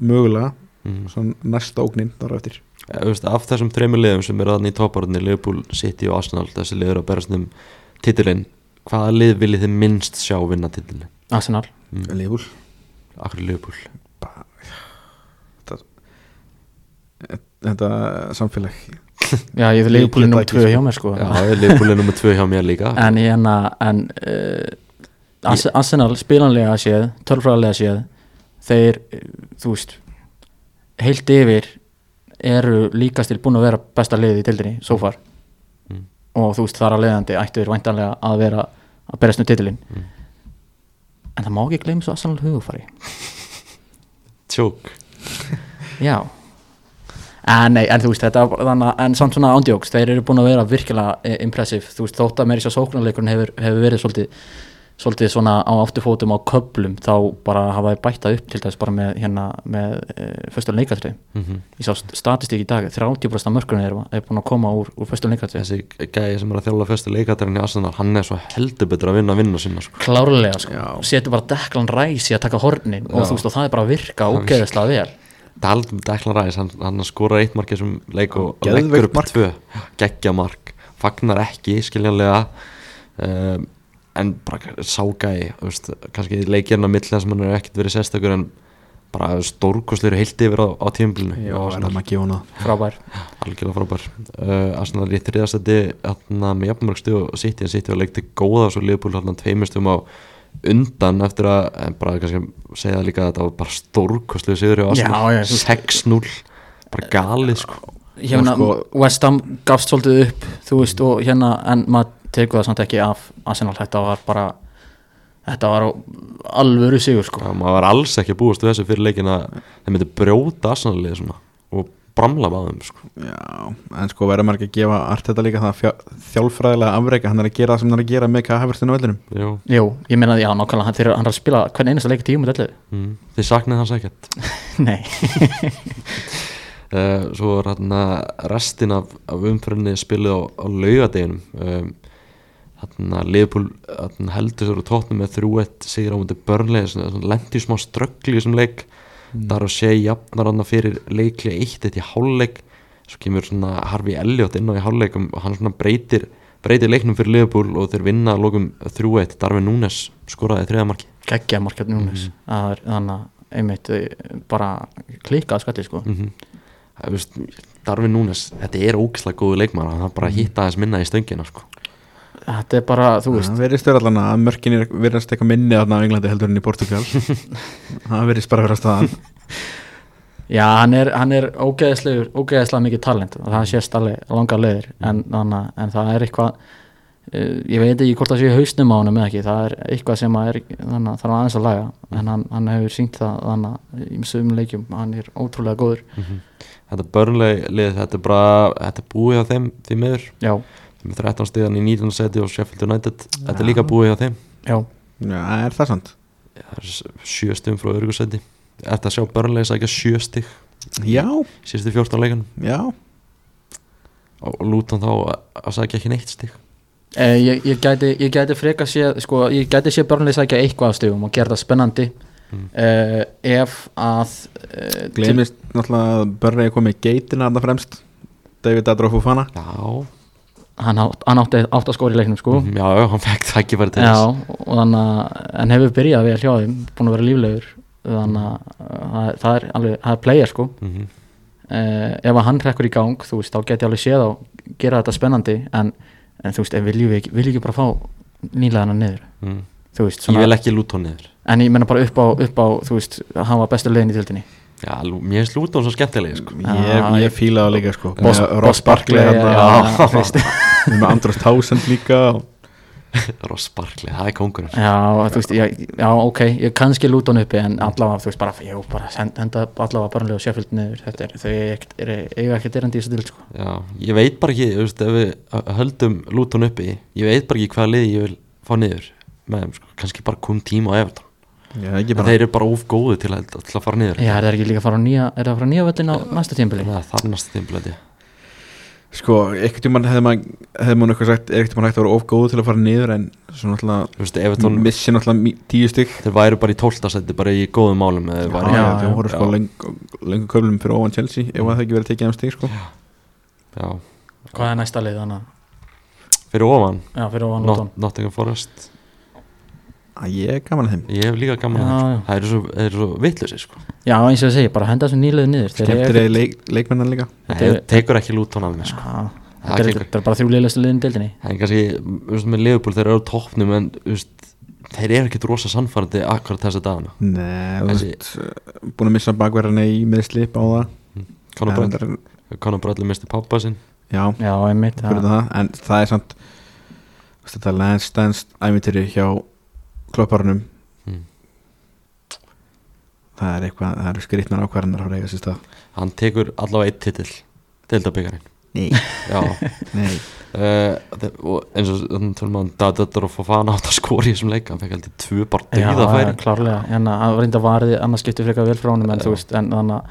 Speaker 2: mögulega
Speaker 1: mm.
Speaker 2: svona næsta ógnin þar á eftir
Speaker 1: Eh, veist, Af þessum þreymur liðum sem eru þannig í topparunni Liverpool, City og Arsenal þessi liður að berast um titilinn hvaða lið viljið þið minnst sjá vinna titilinn?
Speaker 3: Arsenal,
Speaker 1: Mm.
Speaker 2: Leifur
Speaker 1: Akkur Liverpool
Speaker 2: þetta samfélag
Speaker 3: já ég vil
Speaker 2: Ég
Speaker 3: leifbúli
Speaker 2: get
Speaker 3: nr.
Speaker 2: það ekki,
Speaker 3: 2
Speaker 2: sko.
Speaker 3: hjá mér sko
Speaker 1: Já, Liverpool er nummer 2 hjá mér líka
Speaker 3: en hérna en, uh, Ars Arsenal spilanlega séð, tölfræðlega séð þeir, eh, þú veist heilt yfir eru líkastil búin að vera besta liðið í tildinni, so far
Speaker 1: Mm.
Speaker 3: og þú veist þar að leiðandi ættu þeir væntanlega að vera að berast með titilinn
Speaker 1: Mm.
Speaker 3: en það má ekki gleyma svo Arsenal hugufari
Speaker 1: Tjók
Speaker 3: Já En, nei, en þú veist, þetta var þannig að- en samt svona ándjóks, þeir eru búin að vera virkilega eh, impressive, þú veist, þótt að meiri sér sóknarleikurinn hefur, hefur verið svolítið svolítið svona á afturfótum á köplum þá bara hafa þeir bætta upp til þess bara með hérna, með e, föstum leikatrið,
Speaker 1: mm -hmm.
Speaker 3: ég sá st- statistík í dag 30% mörkurinn er, er búin að koma úr, úr föstum leikatrið,
Speaker 1: Þessi gæi sem er að þjála fyrstu leikatarinn í Arsenal hann er svo heldur betur að vinna að vinna sinna sko.
Speaker 3: klárlega sko,
Speaker 2: Já.
Speaker 3: setur bara deklan ræs í að taka hornin
Speaker 1: Já.
Speaker 3: og þú veist, og það er bara að virka
Speaker 1: Það virkar.
Speaker 3: ógeðislega vel
Speaker 1: Daldum Deklan Ræs, hann, hann skorar eitt mark í þessum leik og
Speaker 2: Geðveikt
Speaker 1: leggur upp
Speaker 2: mark.
Speaker 1: tvö geggja mark, fagnar ekki skiljanlega um, en bara ságæi þú veist, kannski leikirna milli þar sem hann er ekkert verið sérstakur en bara stórkosleir heilt yfir á, á tímbilinu og
Speaker 2: já, er það
Speaker 1: Arsenal,
Speaker 2: maður að gefa hana
Speaker 3: frábær,
Speaker 1: algjörlega frábær uh, Arsenal er í þriðastæti hérna, með jafnmörgstu og City en City var leikti góða og svo liðbúl hérna tveimurstjum á undan eftir að en bara kannski segja það líka að þetta var bara stórkosleir sigur hjá
Speaker 3: Já, já,
Speaker 1: Arsenal
Speaker 3: þú veist-
Speaker 1: 6-0 bara galið sko
Speaker 3: hérna,
Speaker 2: Og
Speaker 3: West Ham gafst svolítið upp, þú veist, og hérna en maður tegur það samt ekki af Arsenal, þetta var bara þetta var alvöru sigur sko
Speaker 1: Já, maður var alls ekki að búast við þessu fyrir leikin að þeir myndi brjóta Arsenalið svona og bramla maður þeim sko.
Speaker 2: Já, en sko verður maður ekki að gefa allt þetta líka það fjá- þjálfræðilega afreika hann er að gera það sem hann er að gera með hvað hafverðinu vellinum
Speaker 1: Jú,
Speaker 3: Jú, ég meina að já, nákvæmlega, hann, þeir, hann er að spila hvern einasta leik tíum með allu
Speaker 1: mm, þið saknaði hans ekkert
Speaker 3: Nei,
Speaker 1: uh, Svo var hérna restin af, af umfyrinni spilið á, á laugadeginum um, Þarna Liverpool þarna heldur sér úr tóttnum með 3-1 sigur á múti börnlega, lendi í smá ströggli í þessum leik þar að sé jafnar hann fyrir leikli eitt eitt í hálfleik svo kemur svona Harfi Elliot inn á í hálfleikum og hann svona breytir breytir leiknum fyrir Liverpool og þeir vinna að lokum 3-1, Darvin Núnes skoraði þriðamarki
Speaker 3: geggja markjörn Núnes mm -hmm. þannig að einmitt eh, bara klikkað skalli sko
Speaker 1: mm
Speaker 3: Mhm.
Speaker 1: -hmm. Darvin Núnes, þetta er ógislega góðu leikmann hann þarf bara að hitta aðeins minna í stöngina sko.
Speaker 3: þetta er bara, þú veist
Speaker 2: Það verðist verið allan að mörkin er verðast eitthvað minni þarna á Englandi heldur en í Portugal Það verðist bara verðast að
Speaker 3: Já, hann er, hann er ógeðislegur, ógeðislega mikið talent og það sést alveg langa leiðir en, anna, en það er eitthvað uh, ég veit ekki hvort það sé í hausnum á honum eða ekki, það er eitthvað sem að er, þannig, að þarf aðeins að laga en hann, hann hefur sínt það þannig að í sögum leikjum, hann er ótrúlega góður
Speaker 1: Þetta börnleg lið, þetta er bara þetta er búið hjá þeim, því miður
Speaker 3: Já,
Speaker 1: þeim er 13 stíðan í 19. seti og Sheffield United þetta er líka búið hjá þeim
Speaker 3: já,
Speaker 2: Já, er það sant?
Speaker 1: það er s- sjö stíðum frá örgursæti Þetta sjá börnleg sækja sjö stíð
Speaker 2: Já,
Speaker 1: síðustu 14 leikunum
Speaker 2: já
Speaker 1: og Luton þá að- að sækja ekki neitt stíð
Speaker 3: e, ég, ég gæti ég gæti freka sé, sko, ég gæti sé börnlega sækja eitthvað á stegum og gera það spennandi mm. ef að uh,
Speaker 2: Gleimist náttúrulega að Börrei komið í geitina þarna fremst David Adra Fofana
Speaker 1: Já,
Speaker 3: hann, átt, hann átti átt að skora í leiknum sko
Speaker 1: Mhm, já, já, hann fekk það ekki verið til
Speaker 3: Já,
Speaker 1: þess
Speaker 3: og þannig að en hefur byrjað við að hljóða þeim, búin að vera líflegur þannig að uh, það- það er alveg, það er player sko
Speaker 1: Mhm.
Speaker 3: uh, ef að hann rekkur í gang, þú veist, þá get ég alveg séð og gera þetta spennandi en, en þú veist, en viljum við ekki, viljum við ekki bara fá nýlaðana niður,
Speaker 1: mm.
Speaker 3: þú veist
Speaker 1: Ég
Speaker 3: svona,
Speaker 1: vil ekki Luton niður
Speaker 3: en ég menna bara upp á, upp á þú veist, að hann var bestu leiðin í tildinni
Speaker 1: Já, Lu- mér finnst Luton svo skemmtilega sko.
Speaker 2: Ég,
Speaker 3: Ah,
Speaker 2: ég fílaði það líka sko
Speaker 3: Boss-
Speaker 2: Með
Speaker 3: Boss
Speaker 2: Ross Barkley
Speaker 3: Barkley,
Speaker 2: þarna,
Speaker 3: já,
Speaker 2: já,
Speaker 3: þú veist.
Speaker 2: Við Með Andros Townsend líka og-
Speaker 1: Ross Barkley, það er kóngurinn
Speaker 3: Já, þú veist, já, já ok ég kannski lút hann uppi en allavega þú veist, bara, jú, bara send, henda allavega barnlega og sjáfjöld niður, þetta er, þau eiga ekkert- eru- eiga ekkert erandi í þessu dild sko
Speaker 1: Já, ég veit bara ekki, þú veist, ef við h- höldum Luton uppi, ég veit bara ekki hvaða liði ég vil fá niður með þeim, sko, kannski bara kom tíma á Everton
Speaker 2: Já, ekki
Speaker 1: en
Speaker 2: bara
Speaker 1: þeir eru bara of góðu til að, til að fara niður
Speaker 3: Já, er það ekki líka að fara á nýja, er það að fara á nýja völlin á næsta tímbili?
Speaker 1: Þannig að það er næsta tímpil þetta
Speaker 2: Sko, ekkert tímann hefði maður hefði maður eitthvað sagt, ekkert tímann hægt að vera of góð til að fara niður en svona náttúrulega
Speaker 1: Þú veist, Everton,
Speaker 2: missi náttúrulega mí- tíu stygg
Speaker 1: þeir væru bara í tóltasætti bara í góðum málum eða þeir væru-
Speaker 3: já,
Speaker 2: þau voru sko
Speaker 1: já.
Speaker 2: lengu, lengu köflum fyrir ofan Chelsea ef að það ekki verið að tekið þeim stygg sko
Speaker 1: já,
Speaker 3: Hvað er næsta leið þannig?
Speaker 1: fyrir ofan
Speaker 3: Já, fyrir ofan
Speaker 1: Not-
Speaker 3: Lúton
Speaker 1: Nottingham Forest
Speaker 2: að ég er gaman að þeim
Speaker 1: ég hef líka gaman
Speaker 3: Já,
Speaker 1: að
Speaker 3: já.
Speaker 1: þeim sko. það eru svo, þeir eru svo vitlusi sko.
Speaker 3: Já, eins og ég segi, bara henda þessu nýliðu niður Þeir eiga
Speaker 2: skemmtir
Speaker 3: ekkert-
Speaker 2: eða leik, leikmennan líka
Speaker 1: það
Speaker 3: Þetta er-
Speaker 1: tekur ekki Luton af mér sko.
Speaker 3: Já,
Speaker 1: Það
Speaker 3: Þetta er-
Speaker 1: gengur.
Speaker 3: þetta er bara þrjú leiðilegustu liðin í deildinni
Speaker 1: en kannski, þú veist, með Liverpool þeir eru á toppnum en, þú veist, þeir eru ekki rosa sannfærandi akkurat þessa dagana
Speaker 2: Nei, þú
Speaker 1: Þessi-
Speaker 2: veist, eh, búin að missa bakverðina í meðslip á það
Speaker 1: Conor
Speaker 2: En
Speaker 1: Bradley,
Speaker 2: reyndar-
Speaker 1: Conor Bradley misti pappa sinn
Speaker 2: Já,
Speaker 3: Já, einmitt
Speaker 2: fyrir
Speaker 3: það-
Speaker 2: það, en það er samt þú veist, þetta landstænst æmyndir hjá klopparunum
Speaker 1: Mm.
Speaker 2: það er eitthvað, það eru skrittnar ákvarðanar á reyga sér stað
Speaker 1: hann tekur allavega eitt titill deildabyggarinn
Speaker 2: Nei,
Speaker 1: já
Speaker 2: nei,
Speaker 1: uh, og eins og þannig tölum að Dadadur og Fofana átt að skora í þessum leik hann fekk aldrei tvö bara
Speaker 3: Já,
Speaker 1: döða
Speaker 3: já,
Speaker 1: færi
Speaker 3: klárlega Hérna, hann var reynda varði, annars skiptu frekar vel frá honum En þú veist, en þannig að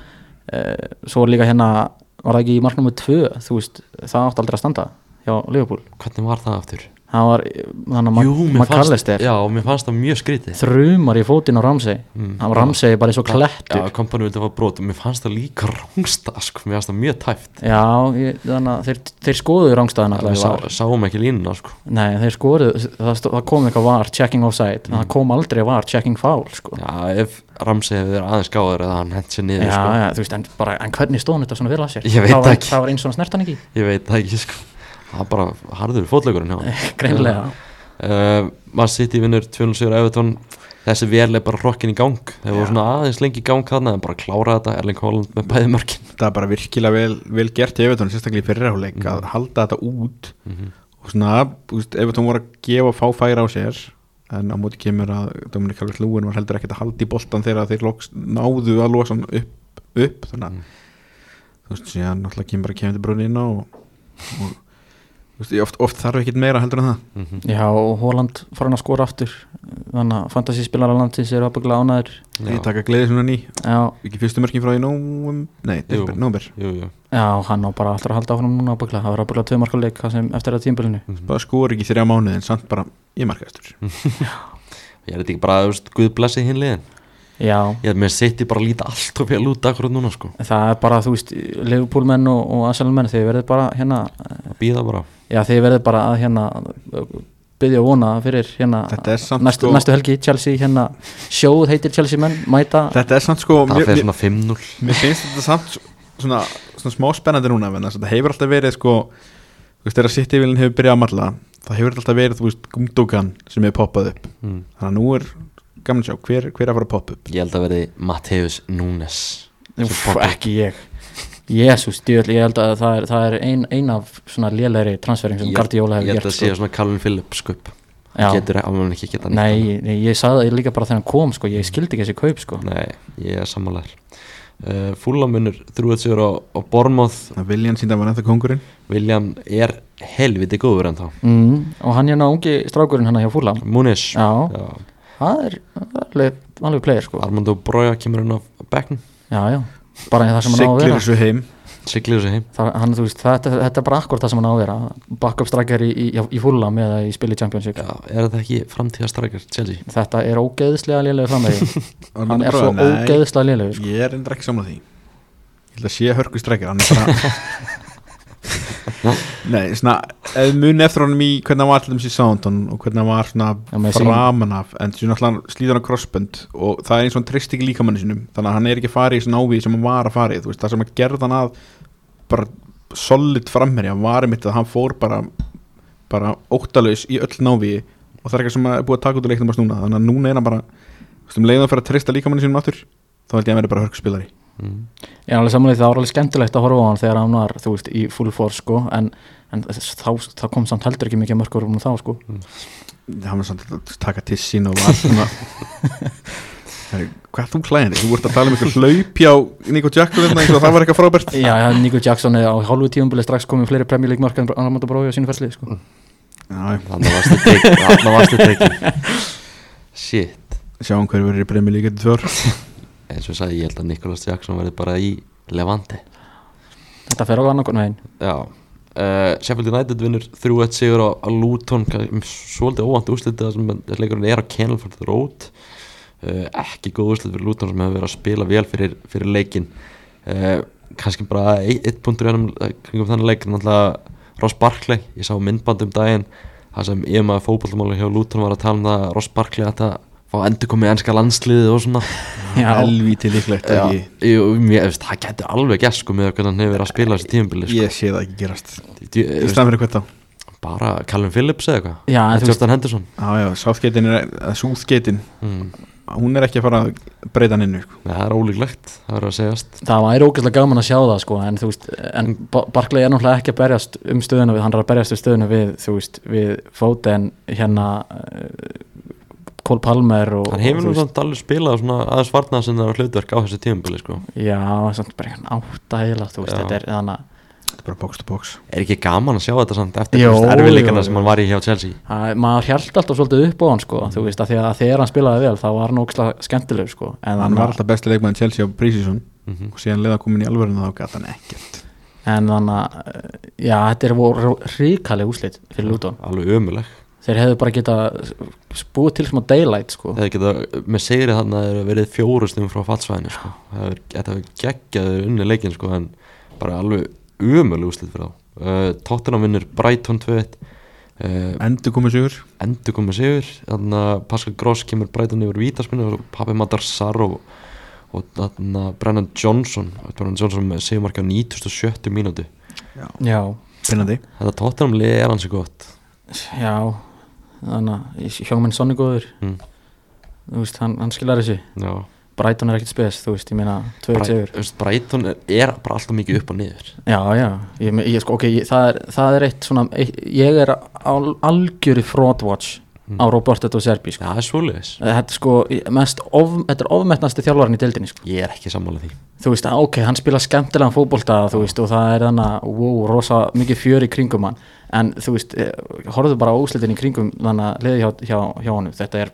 Speaker 3: Svo er líka hérna, var það ekki í marknum með tvö Þú veist, það átti aldrei að standa Hjá Liverpool
Speaker 1: hvernig var það aftur?
Speaker 3: Það var, eh,
Speaker 1: Jú,
Speaker 3: þannig að
Speaker 1: mér fannst,
Speaker 3: McAllister
Speaker 1: já, mér fannst það mjög skrítið
Speaker 3: Þrumar í fótinn á Ramsey
Speaker 1: Mm.
Speaker 3: Hann Ramsey er bara eins og klettur
Speaker 1: Já, kompanum vildi fá brot og mér fannst það líka rungsta sko, mér fannst það mjög tæft
Speaker 3: Já, ég, þannig að þeir, þeir skoðu rángstæðan
Speaker 1: við
Speaker 3: allavega
Speaker 1: sá,
Speaker 3: var.
Speaker 1: sáum ekki línuna sko
Speaker 3: Nei, þeir skoðu, það, stó- það kom eitthvað var checking offside,
Speaker 1: Mm.
Speaker 3: en það kom aldrei var checking foul, sko. Já,
Speaker 1: Já, ef Ramsey hefði verið aðeins gáður eða hann hent sér niður
Speaker 3: já,
Speaker 1: sko.
Speaker 3: þú veist, en bara, en hvernig stóðan þetta svona vel að sér?
Speaker 1: Ég veit
Speaker 3: það var,
Speaker 1: ekki.
Speaker 3: Það var eins og hann snert hann ekki,
Speaker 1: Ég veit það ekki sko Það er bara harður fótlegurinn hjá hann
Speaker 3: greinlega.
Speaker 1: uh, Man sitt í vinnur 207 Evertón Þessi vel er bara hrokkin í gang Þeir voru svona aðeins lengi í gang þarna en bara klára þetta Erling Holland með bæði mörkin
Speaker 2: það er bara virkilega vel, vel gert í Evertón, sérstaklega í fyrirháleik að halda þetta út
Speaker 3: Mhm.
Speaker 2: og svona, þú veist, Evertón voru að gefa fá færa á sér en á móti kemur að Dominic Calvert Lúin var heldur ekkert að halda í boltan þegar þeir loks, náðu að losa hann upp, upp
Speaker 1: Mhm.
Speaker 2: þannig að þú veist, síðan náttúrulega kemur bara kemur til brunni inn á og, og þú veist, ég oft, oft þarf ekkert meira heldur en það
Speaker 1: Mhm.
Speaker 3: Já, og Holland fór hann að skora aftur, þannig að fantasíspilara landsins eru ábygglega ánæður.
Speaker 2: ég taka gleði svona ný,
Speaker 3: Já,
Speaker 2: ekki fyrstu mörkin frá í nóum, nei,
Speaker 1: Jú.
Speaker 2: desember, nómber
Speaker 1: Jú, jú
Speaker 3: já, hann á bara alltaf að halda áfram núna ábygglega, það var ábygglega tvö markuleik sem eftir að tímbilinu.
Speaker 1: Mm. Mhm.
Speaker 2: bara skor ekki í þrjá mánuði en samt bara, ég markaðistur
Speaker 1: Ég er þetta ekki bara, þú veist, guð blessi hinn liðin
Speaker 3: Já,
Speaker 1: Ég er með sitt í bara að líta allt og vel út akkurat núna sko
Speaker 3: það er bara, þú veist, Liverpool-menn og, og Arsenal-menn, þeir verður bara hérna
Speaker 1: Að býða bara
Speaker 3: Já, þið verðið bara að hérna byggja og vona fyrir hérna
Speaker 2: Þetta er samt
Speaker 3: næstu,
Speaker 2: sko-
Speaker 3: næstu helgi, Chelsea hérna sjóð heitir Chelsea menn, mæta
Speaker 2: þetta er samt sko,
Speaker 1: Það
Speaker 2: mér,
Speaker 1: fyrir
Speaker 2: mér,
Speaker 1: svona 5-0
Speaker 2: mér finnst þetta samt s- svona, svona smá spennandi núna, menn, þetta hefur alltaf verið sko, þú veist, þegar City-vilin hefur byrjað að malla það hefur alltaf verið, þú veist, Gumdogan sem er poppað upp,
Speaker 1: mm.
Speaker 2: þannig að nú er gaman að sjá, hver, hver er að fara að poppa upp
Speaker 1: Ég held að verði Matthäus Núnes
Speaker 3: Úff, ekki ég Jésús, djöðl, ég held að það er, það er ein, ein af svona lélæri transferring sem
Speaker 1: Ég-
Speaker 3: Guardiola
Speaker 1: Ég
Speaker 3: hefur
Speaker 1: held
Speaker 3: gert
Speaker 1: að sé
Speaker 3: sko.
Speaker 1: svona Calvin Phillips skup
Speaker 3: Já.
Speaker 1: Getur að mann ekki geta neitt annað.
Speaker 3: Nei, nei, ég sagði það líka bara þegar hann kom sko, ég skildi ekki þessi kaup sko.
Speaker 1: Nei, ég er sammálaður uh, Fúlamunur þrjúið sigur á, á Bormóð
Speaker 2: þannig að Viljan sínda var ennþá kongurinn
Speaker 1: William er helviti góður en þá
Speaker 3: mm, og hann hérna ungi strákurinn hann hjá Fúlam
Speaker 1: Múnis
Speaker 3: Já, það er það er alveg, alveg player sko
Speaker 1: Armando Broja kemur hann á bekkn
Speaker 3: Já, já, bara það sem hann á að
Speaker 2: siglir
Speaker 3: vera
Speaker 2: þessu heim
Speaker 1: Siglir þessu heim
Speaker 3: það, hann, þú veist, þetta, þetta er bara akkur það sem hann á að vera Backup strákar í, í, í Fúlam eða í spili Championship
Speaker 1: Já, er þetta ekki framtíðastrækjar Chelsea?
Speaker 3: Þetta er ógeðslega lélegu framöði Hann er
Speaker 2: Bara,
Speaker 3: svo
Speaker 2: nei,
Speaker 3: ógeðslega lélegu sko.
Speaker 2: ég er endur ekki saman því ég held að sé hörku strekkar hann er bara nei, svona, eða muni eftir honum í hvernig hann var allir um sér Soundon og hvernig hann var svona
Speaker 3: Já, með sín-
Speaker 2: framan af en svona alltaf slíðan á crossbund og það er eins og hann treyst ekki líkamannu sinum þannig að hann er ekki að fara í svona ávið sem hann var að fara í þú veist, það sem að gerða hann að bara solid framherja var einmitt að hann fór bara bara óttalaus í öll návíi og það er eitthvað sem er búið að taka út í leiknum hans núna þannig að núna er hann bara þú veist, um leiðan fyrir að treysta líkamannu sínum áttur þá held ég að hann verði bara hörkspilari
Speaker 1: Mm.
Speaker 3: Ég er sko. alveg samanlega það var alveg skemmtilegt að horfa á hann þegar hann var, þú veist, í full force sko en, en þá, þá kom samt heldur ekki mikið mörgur um þá sko
Speaker 2: hann var samt að taka til sín og var svona Herri, hvað ert þú klæðin þú vart að tala um eitthvað hlaup hjá Nico Jackal hérna, eins og það var eitthvað frábært
Speaker 3: Já, já, Nico Jackson er á hálfu tíumbili strax komið fleiri Premier League mörg en Armando Brói á sínu ferslið sko
Speaker 2: Mm. Já,
Speaker 1: Þannig varstu tekið Þannig varstu tekið Shit
Speaker 2: sjáum hver verður í bremi líka til tvör
Speaker 1: Eins og ég sagði, ég held að Nikolas Jackson verði bara í Levante
Speaker 3: Þetta fer á annarkon veginn
Speaker 1: Já Uh, Sheffield United vinnur 3-1 sigur á, á Luton kann- svolítið óvænt úrslitið þar sem að leikurinn er á Kennelford Road uh, ekki góð úrslit fyrir Luton sem hefur verið að spila vel fyrir, fyrir leikin uh, kannski bara eitt, eitt punktur í honum, eh, kringum þannig leik náttúrulega Ross Barkley, ég sá myndband um daginn það sem ég maður fótballmála hjá Luton var að tala um það að Ross Barkley ætti að fá endur komið ennska landsliðið og svona
Speaker 3: Já,
Speaker 2: helvíti líklegt
Speaker 1: Já,
Speaker 2: ekki
Speaker 1: jú, mér, veist, það gæti alveg gæst sko með hvernig hann hefur verið að spila þessi tímabili sko.
Speaker 2: ég sé það ekki gerast
Speaker 1: Djú- eh,
Speaker 2: í staðan fyrir hvert þá
Speaker 1: bara Callum Phillips eða eitthvað
Speaker 3: Já, en þú veist,
Speaker 1: Jordan Henderson
Speaker 2: já, já, sáðgeitin er að súðgeitin
Speaker 1: mm.
Speaker 2: hún er ekki að fara að breyta hann sko. innu
Speaker 1: Nei, það er ólíklegt, það er að segjast
Speaker 3: það væri ógeðslega gaman að sjá það sko en þú veist, en Ba- Barkley er náttúrulega ekki að berjast um stöðuna við, hann er að berjast um stöðuna við, þú veist, við Foden hérna eh, Cole Palmer og
Speaker 1: hann hefur
Speaker 3: og þú
Speaker 1: nú
Speaker 3: veist-
Speaker 1: samt alveg spilað svona aðeins varnað sem það er hlutverk á þessu tímabili sko.
Speaker 3: Já, samt bara einhvern átta heila, þú veist,
Speaker 1: Já.
Speaker 3: þetta er þannig að
Speaker 2: þetta er bara box to box
Speaker 1: er ekki gaman að sjá þetta samt eftir
Speaker 3: Jó,
Speaker 1: þú veist, erfiðleikana
Speaker 3: jó,
Speaker 1: sem
Speaker 3: jó.
Speaker 1: hann var í hjá Chelsea
Speaker 3: að maður hjælt alltaf svolítið upp á hann sko, þú veist, að því að þegar hann spilaði vel þá var hann ógislega skemmtileg sko, en,
Speaker 2: hann var alltaf besti leikmann Chelsea á prísísun
Speaker 1: mm -hmm.
Speaker 2: og síðan leiða komin í alvörinu þá gæti hann ekkert
Speaker 3: en þannig að eh, já, þetta er voru ríkaleg úslit fyrir Luton,
Speaker 1: alveg ömuleg
Speaker 3: þeir hefðu bara geta spúið til smá daylight sko
Speaker 1: eða geta, með segri þannig að það eru verið fjórustum frá fatsvæðinu sko. Það hefur- þetta hefur geggjaður unni leikin sko, en bara alveg ömuleg úslið fyrir þá uh, Tottenham vinnur Brighton 2-1 uh,
Speaker 2: endur komið sigur
Speaker 1: endur komið sigur þannig að Pascal Gross kemur breytan yfir vítaspinnu og Papi Madar Sar og, og þannig að Brennan Johnson Brennan Johnson með sigurmarki á 97 mínúti
Speaker 3: já,
Speaker 2: pinnandi
Speaker 1: þetta tóttunum liði er hansi gott
Speaker 3: já þannig að Hjóngmenn Sonni góður
Speaker 1: Mm.
Speaker 3: þú veist, hann, hann skilar þessu
Speaker 1: Já,
Speaker 3: Brighton er ekkert spes, þú veist, ég meina 2-1
Speaker 1: Brei-
Speaker 3: sigur
Speaker 1: þú veist, Brighton er, er bara alltaf mikið upp og niður
Speaker 3: Já, já, ég, me- ég, sko, ok, ég, það, er, það er eitt svona, eitt, ég er al, algjöri fraudwatch á Roberto Di Serbi, sko.
Speaker 1: Já, það er svoleiðis
Speaker 3: Þetta, er sko, mest of, þetta er ofmetnasti þjálfarinn í deildinni, sko.
Speaker 1: Ég er ekki sammála því
Speaker 3: Þú veist, að, ok, hann spila skemmtilegan fótbolta, þú veist, og það er þannig, wow, rosa mikið fjör í kringum hann, en þú veist, eh, horfðu bara á úslitin í kringum þannig að liði hjá, hjá, hjá honum, þetta er,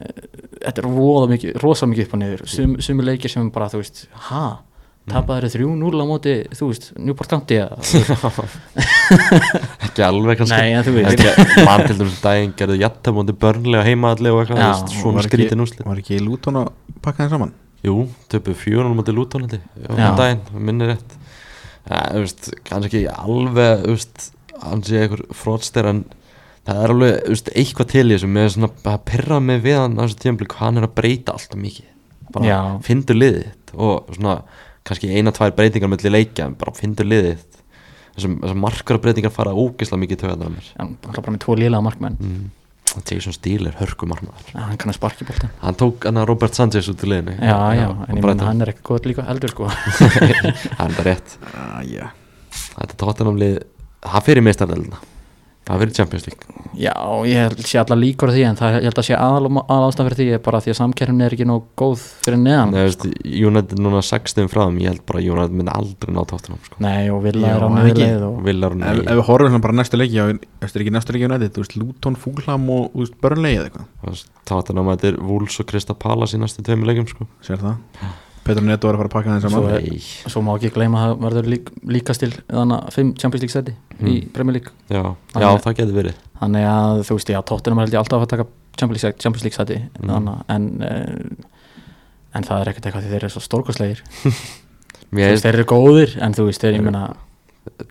Speaker 3: eh, þetta er voða mikið, rosa mikið upp og niður, Sum, sumi leikir sem bara, þú veist, ha, tapaður þér 3-0 á móti, þú veist, Newport County, eða, þú veist,
Speaker 1: Ekki alveg kannski
Speaker 3: Nei, en þú veist.
Speaker 1: Ekki- Man til dæmis um daginn gerðu jættamóndi börnlega heimaðlega og eitthvað
Speaker 3: Já,
Speaker 1: þú veist, Svona
Speaker 2: var ekki-
Speaker 1: skrítin úslit
Speaker 2: var ekki í Luton að pakka þeim saman
Speaker 1: Jú, töpu fjórunum á til útólandi
Speaker 3: Já.
Speaker 1: um daginn, minni rétt ja, þú veist, kannski ekki alveg þú veist, hann sé einhver frótster en það er alveg þú veist, eitthvað til í þessu, mér er svona að perra mig við hann á þessu tímpli, hvað hann er að breyta alltaf mikið, bara
Speaker 3: Já.
Speaker 1: fyndu liðið þitt og svona kannski eina, tvær breytingar mellir leikja, en bara fyndu liðið þitt. þessum, þessum markarbreytingar fara ógislega mikið töðan á mér
Speaker 3: hann er bara með tvo lílega markmenn
Speaker 1: mm. Jason Steele er hörkumarmaður
Speaker 3: hann kann að sparki bóltan
Speaker 1: hann tók hann að Robert Sanchez út í leiðinu
Speaker 3: já, já, en ég menna
Speaker 1: hann
Speaker 3: hann er ekki góð líka eldur sko
Speaker 1: hann er rétt
Speaker 2: Ah, yeah.
Speaker 1: þetta tóttanamlið, það fyrir meistardelina það fyrir Champions League
Speaker 3: já, ég held sé alla líkur á því en það ég held að sé aðal, aðal ástæðan fyrir því er bara því að samkerfni er ekki nóg góð fyrir neðan
Speaker 1: Nei,
Speaker 3: nei,
Speaker 1: veist, United er núna 16 frá þeim ég held bara að United myndi aldrei ná tóttanam sko.
Speaker 3: og vilja
Speaker 2: Já,
Speaker 3: er á
Speaker 2: en ekki.
Speaker 3: niðurleið og
Speaker 1: Villar
Speaker 2: ef, ef
Speaker 1: nei,
Speaker 2: við horfum svona bara næstu leiki á eftir ekki næstu leiki á nætti, þú veist Luton, Fúlham og þú veist Burnley eða eitthvað,
Speaker 1: tóttanam þetta er Wolves og Krista Palace í næstu tveimur leikjum sko.
Speaker 2: sér það Petur Netto var að fara að pakka það
Speaker 3: Svo
Speaker 2: saman
Speaker 3: er-
Speaker 1: nei,
Speaker 3: svo má ekki gleyma að það verður lík, líka stil þannig að 5 Champions League seti í
Speaker 1: Mm.
Speaker 3: Premier League
Speaker 1: já,
Speaker 3: Hann
Speaker 1: já
Speaker 3: er-
Speaker 1: það getur verið
Speaker 3: þannig að þú veist, já, Tottenham held ég alltaf að fara að taka Champions League, Champions League sæti
Speaker 1: Mm.
Speaker 3: þannig, að- en, eh, en það er ekkert eitthvað því þeir eru svo stórkostlegir Þú
Speaker 1: Mér
Speaker 3: veist, þeir eru góðir, en þú veist, þeir, ég meina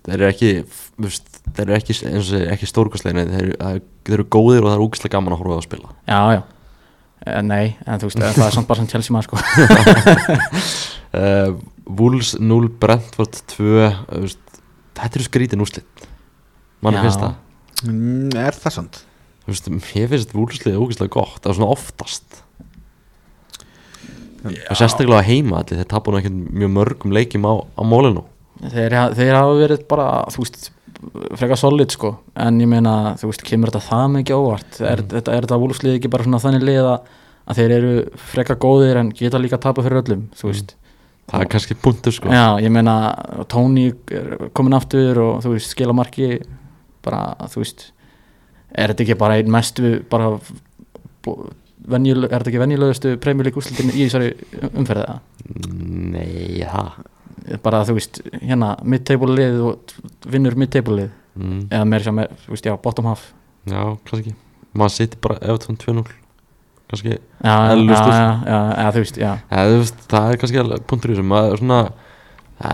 Speaker 1: þeir eru ekki þú veist, þeir eru ekki, eins og segir, ekki stórkostlegin þeir, eru- það er- þeir eru góðir og það er ógeðslega gaman að horfa á að spila
Speaker 3: já, já, Eh, nei, en þú veist það er samt bara sem Chelsea maður, sko
Speaker 1: uh, Wolves 0 Brentford 2 uh, þú veist, þetta eru skrítin úrslit manni
Speaker 3: Já.
Speaker 1: finnst það
Speaker 2: Mm, er það sant?
Speaker 1: Þú veist, ég finnst Wolvesliðið ógeðslega gott það er svona oftast og sérstaklega á heima allir þeir tapu nú ekkert mjög mörgum leikjum á, á mólinu
Speaker 3: þeir, ha- þeir hafa verið bara, þú veist frekar solid, sko, en ég meina þú veist, kemur þetta það mikið óvart er, þetta, er þetta vúlfslið ekki bara svona þannig lið að, að þeir eru frekar góðir en geta líka að tapa fyrir öllum, þú veist
Speaker 1: það er kannski punktur sko
Speaker 3: Já, ég meina Tony er komin aftur og þú veist, skila marki bara, þú veist er þetta ekki bara einn mestu bara bú- venjul, er þetta ekki venjulegustu premjulík úrslutin í þessari umferðið
Speaker 1: nei, það
Speaker 3: bara þú veist, hérna mid-table lið og t- vinnur mid-table lið
Speaker 1: mm.
Speaker 3: eða meir sem er, þú veist, já, bottom half
Speaker 1: já, kannski maður sittir bara Everton 2-0 kannski
Speaker 3: já, já, já,
Speaker 1: Eðlilegust úrslit.
Speaker 3: já, já, já, þú veist, já
Speaker 1: Ja, þú veist, það er kannski alveg punktur í þessum maður er svona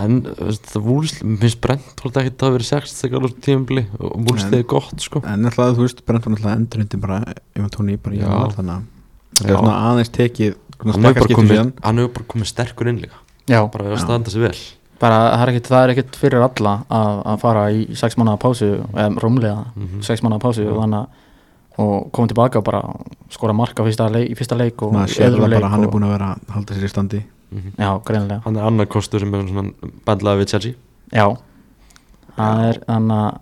Speaker 1: en þú veist, það vúlst, minnst brent hvort ekki það hafi verið sex þegar alveg tímabili og vúlst
Speaker 2: Nei.
Speaker 1: þið er gott sko
Speaker 2: en alltaf þú veist, Brentford alltaf endur hundi bara ef hann tóni bara í
Speaker 1: Já.
Speaker 2: januar þannig að það
Speaker 1: Já.
Speaker 2: er svona aðeins tekið svona
Speaker 1: hann hefur bara,
Speaker 2: stakkarskiptum
Speaker 1: komið-
Speaker 2: síðan
Speaker 1: hann hefur bara komið sterkur inn líka
Speaker 3: já,
Speaker 1: bara að
Speaker 2: Já.
Speaker 1: standa sig vel
Speaker 3: bara það er ekkit, það er ekkit fyrir alla að, að fara í sex mannaða pásu eða rúmlega
Speaker 1: Mhm.
Speaker 3: sex manna pásu
Speaker 1: Já.
Speaker 3: og þannig að og komið tilbaka og bara skora marka fyrsta leik, í fyrsta leik og
Speaker 2: maður
Speaker 3: í
Speaker 2: sér
Speaker 3: öðrum
Speaker 2: það
Speaker 3: leik
Speaker 2: bara að hann
Speaker 3: og-
Speaker 2: er búin að vera að halda sér í standi
Speaker 3: já, greinilega,
Speaker 1: hann er annar kostur sem er svona bandlaði við Chelsea
Speaker 3: já það er þannig að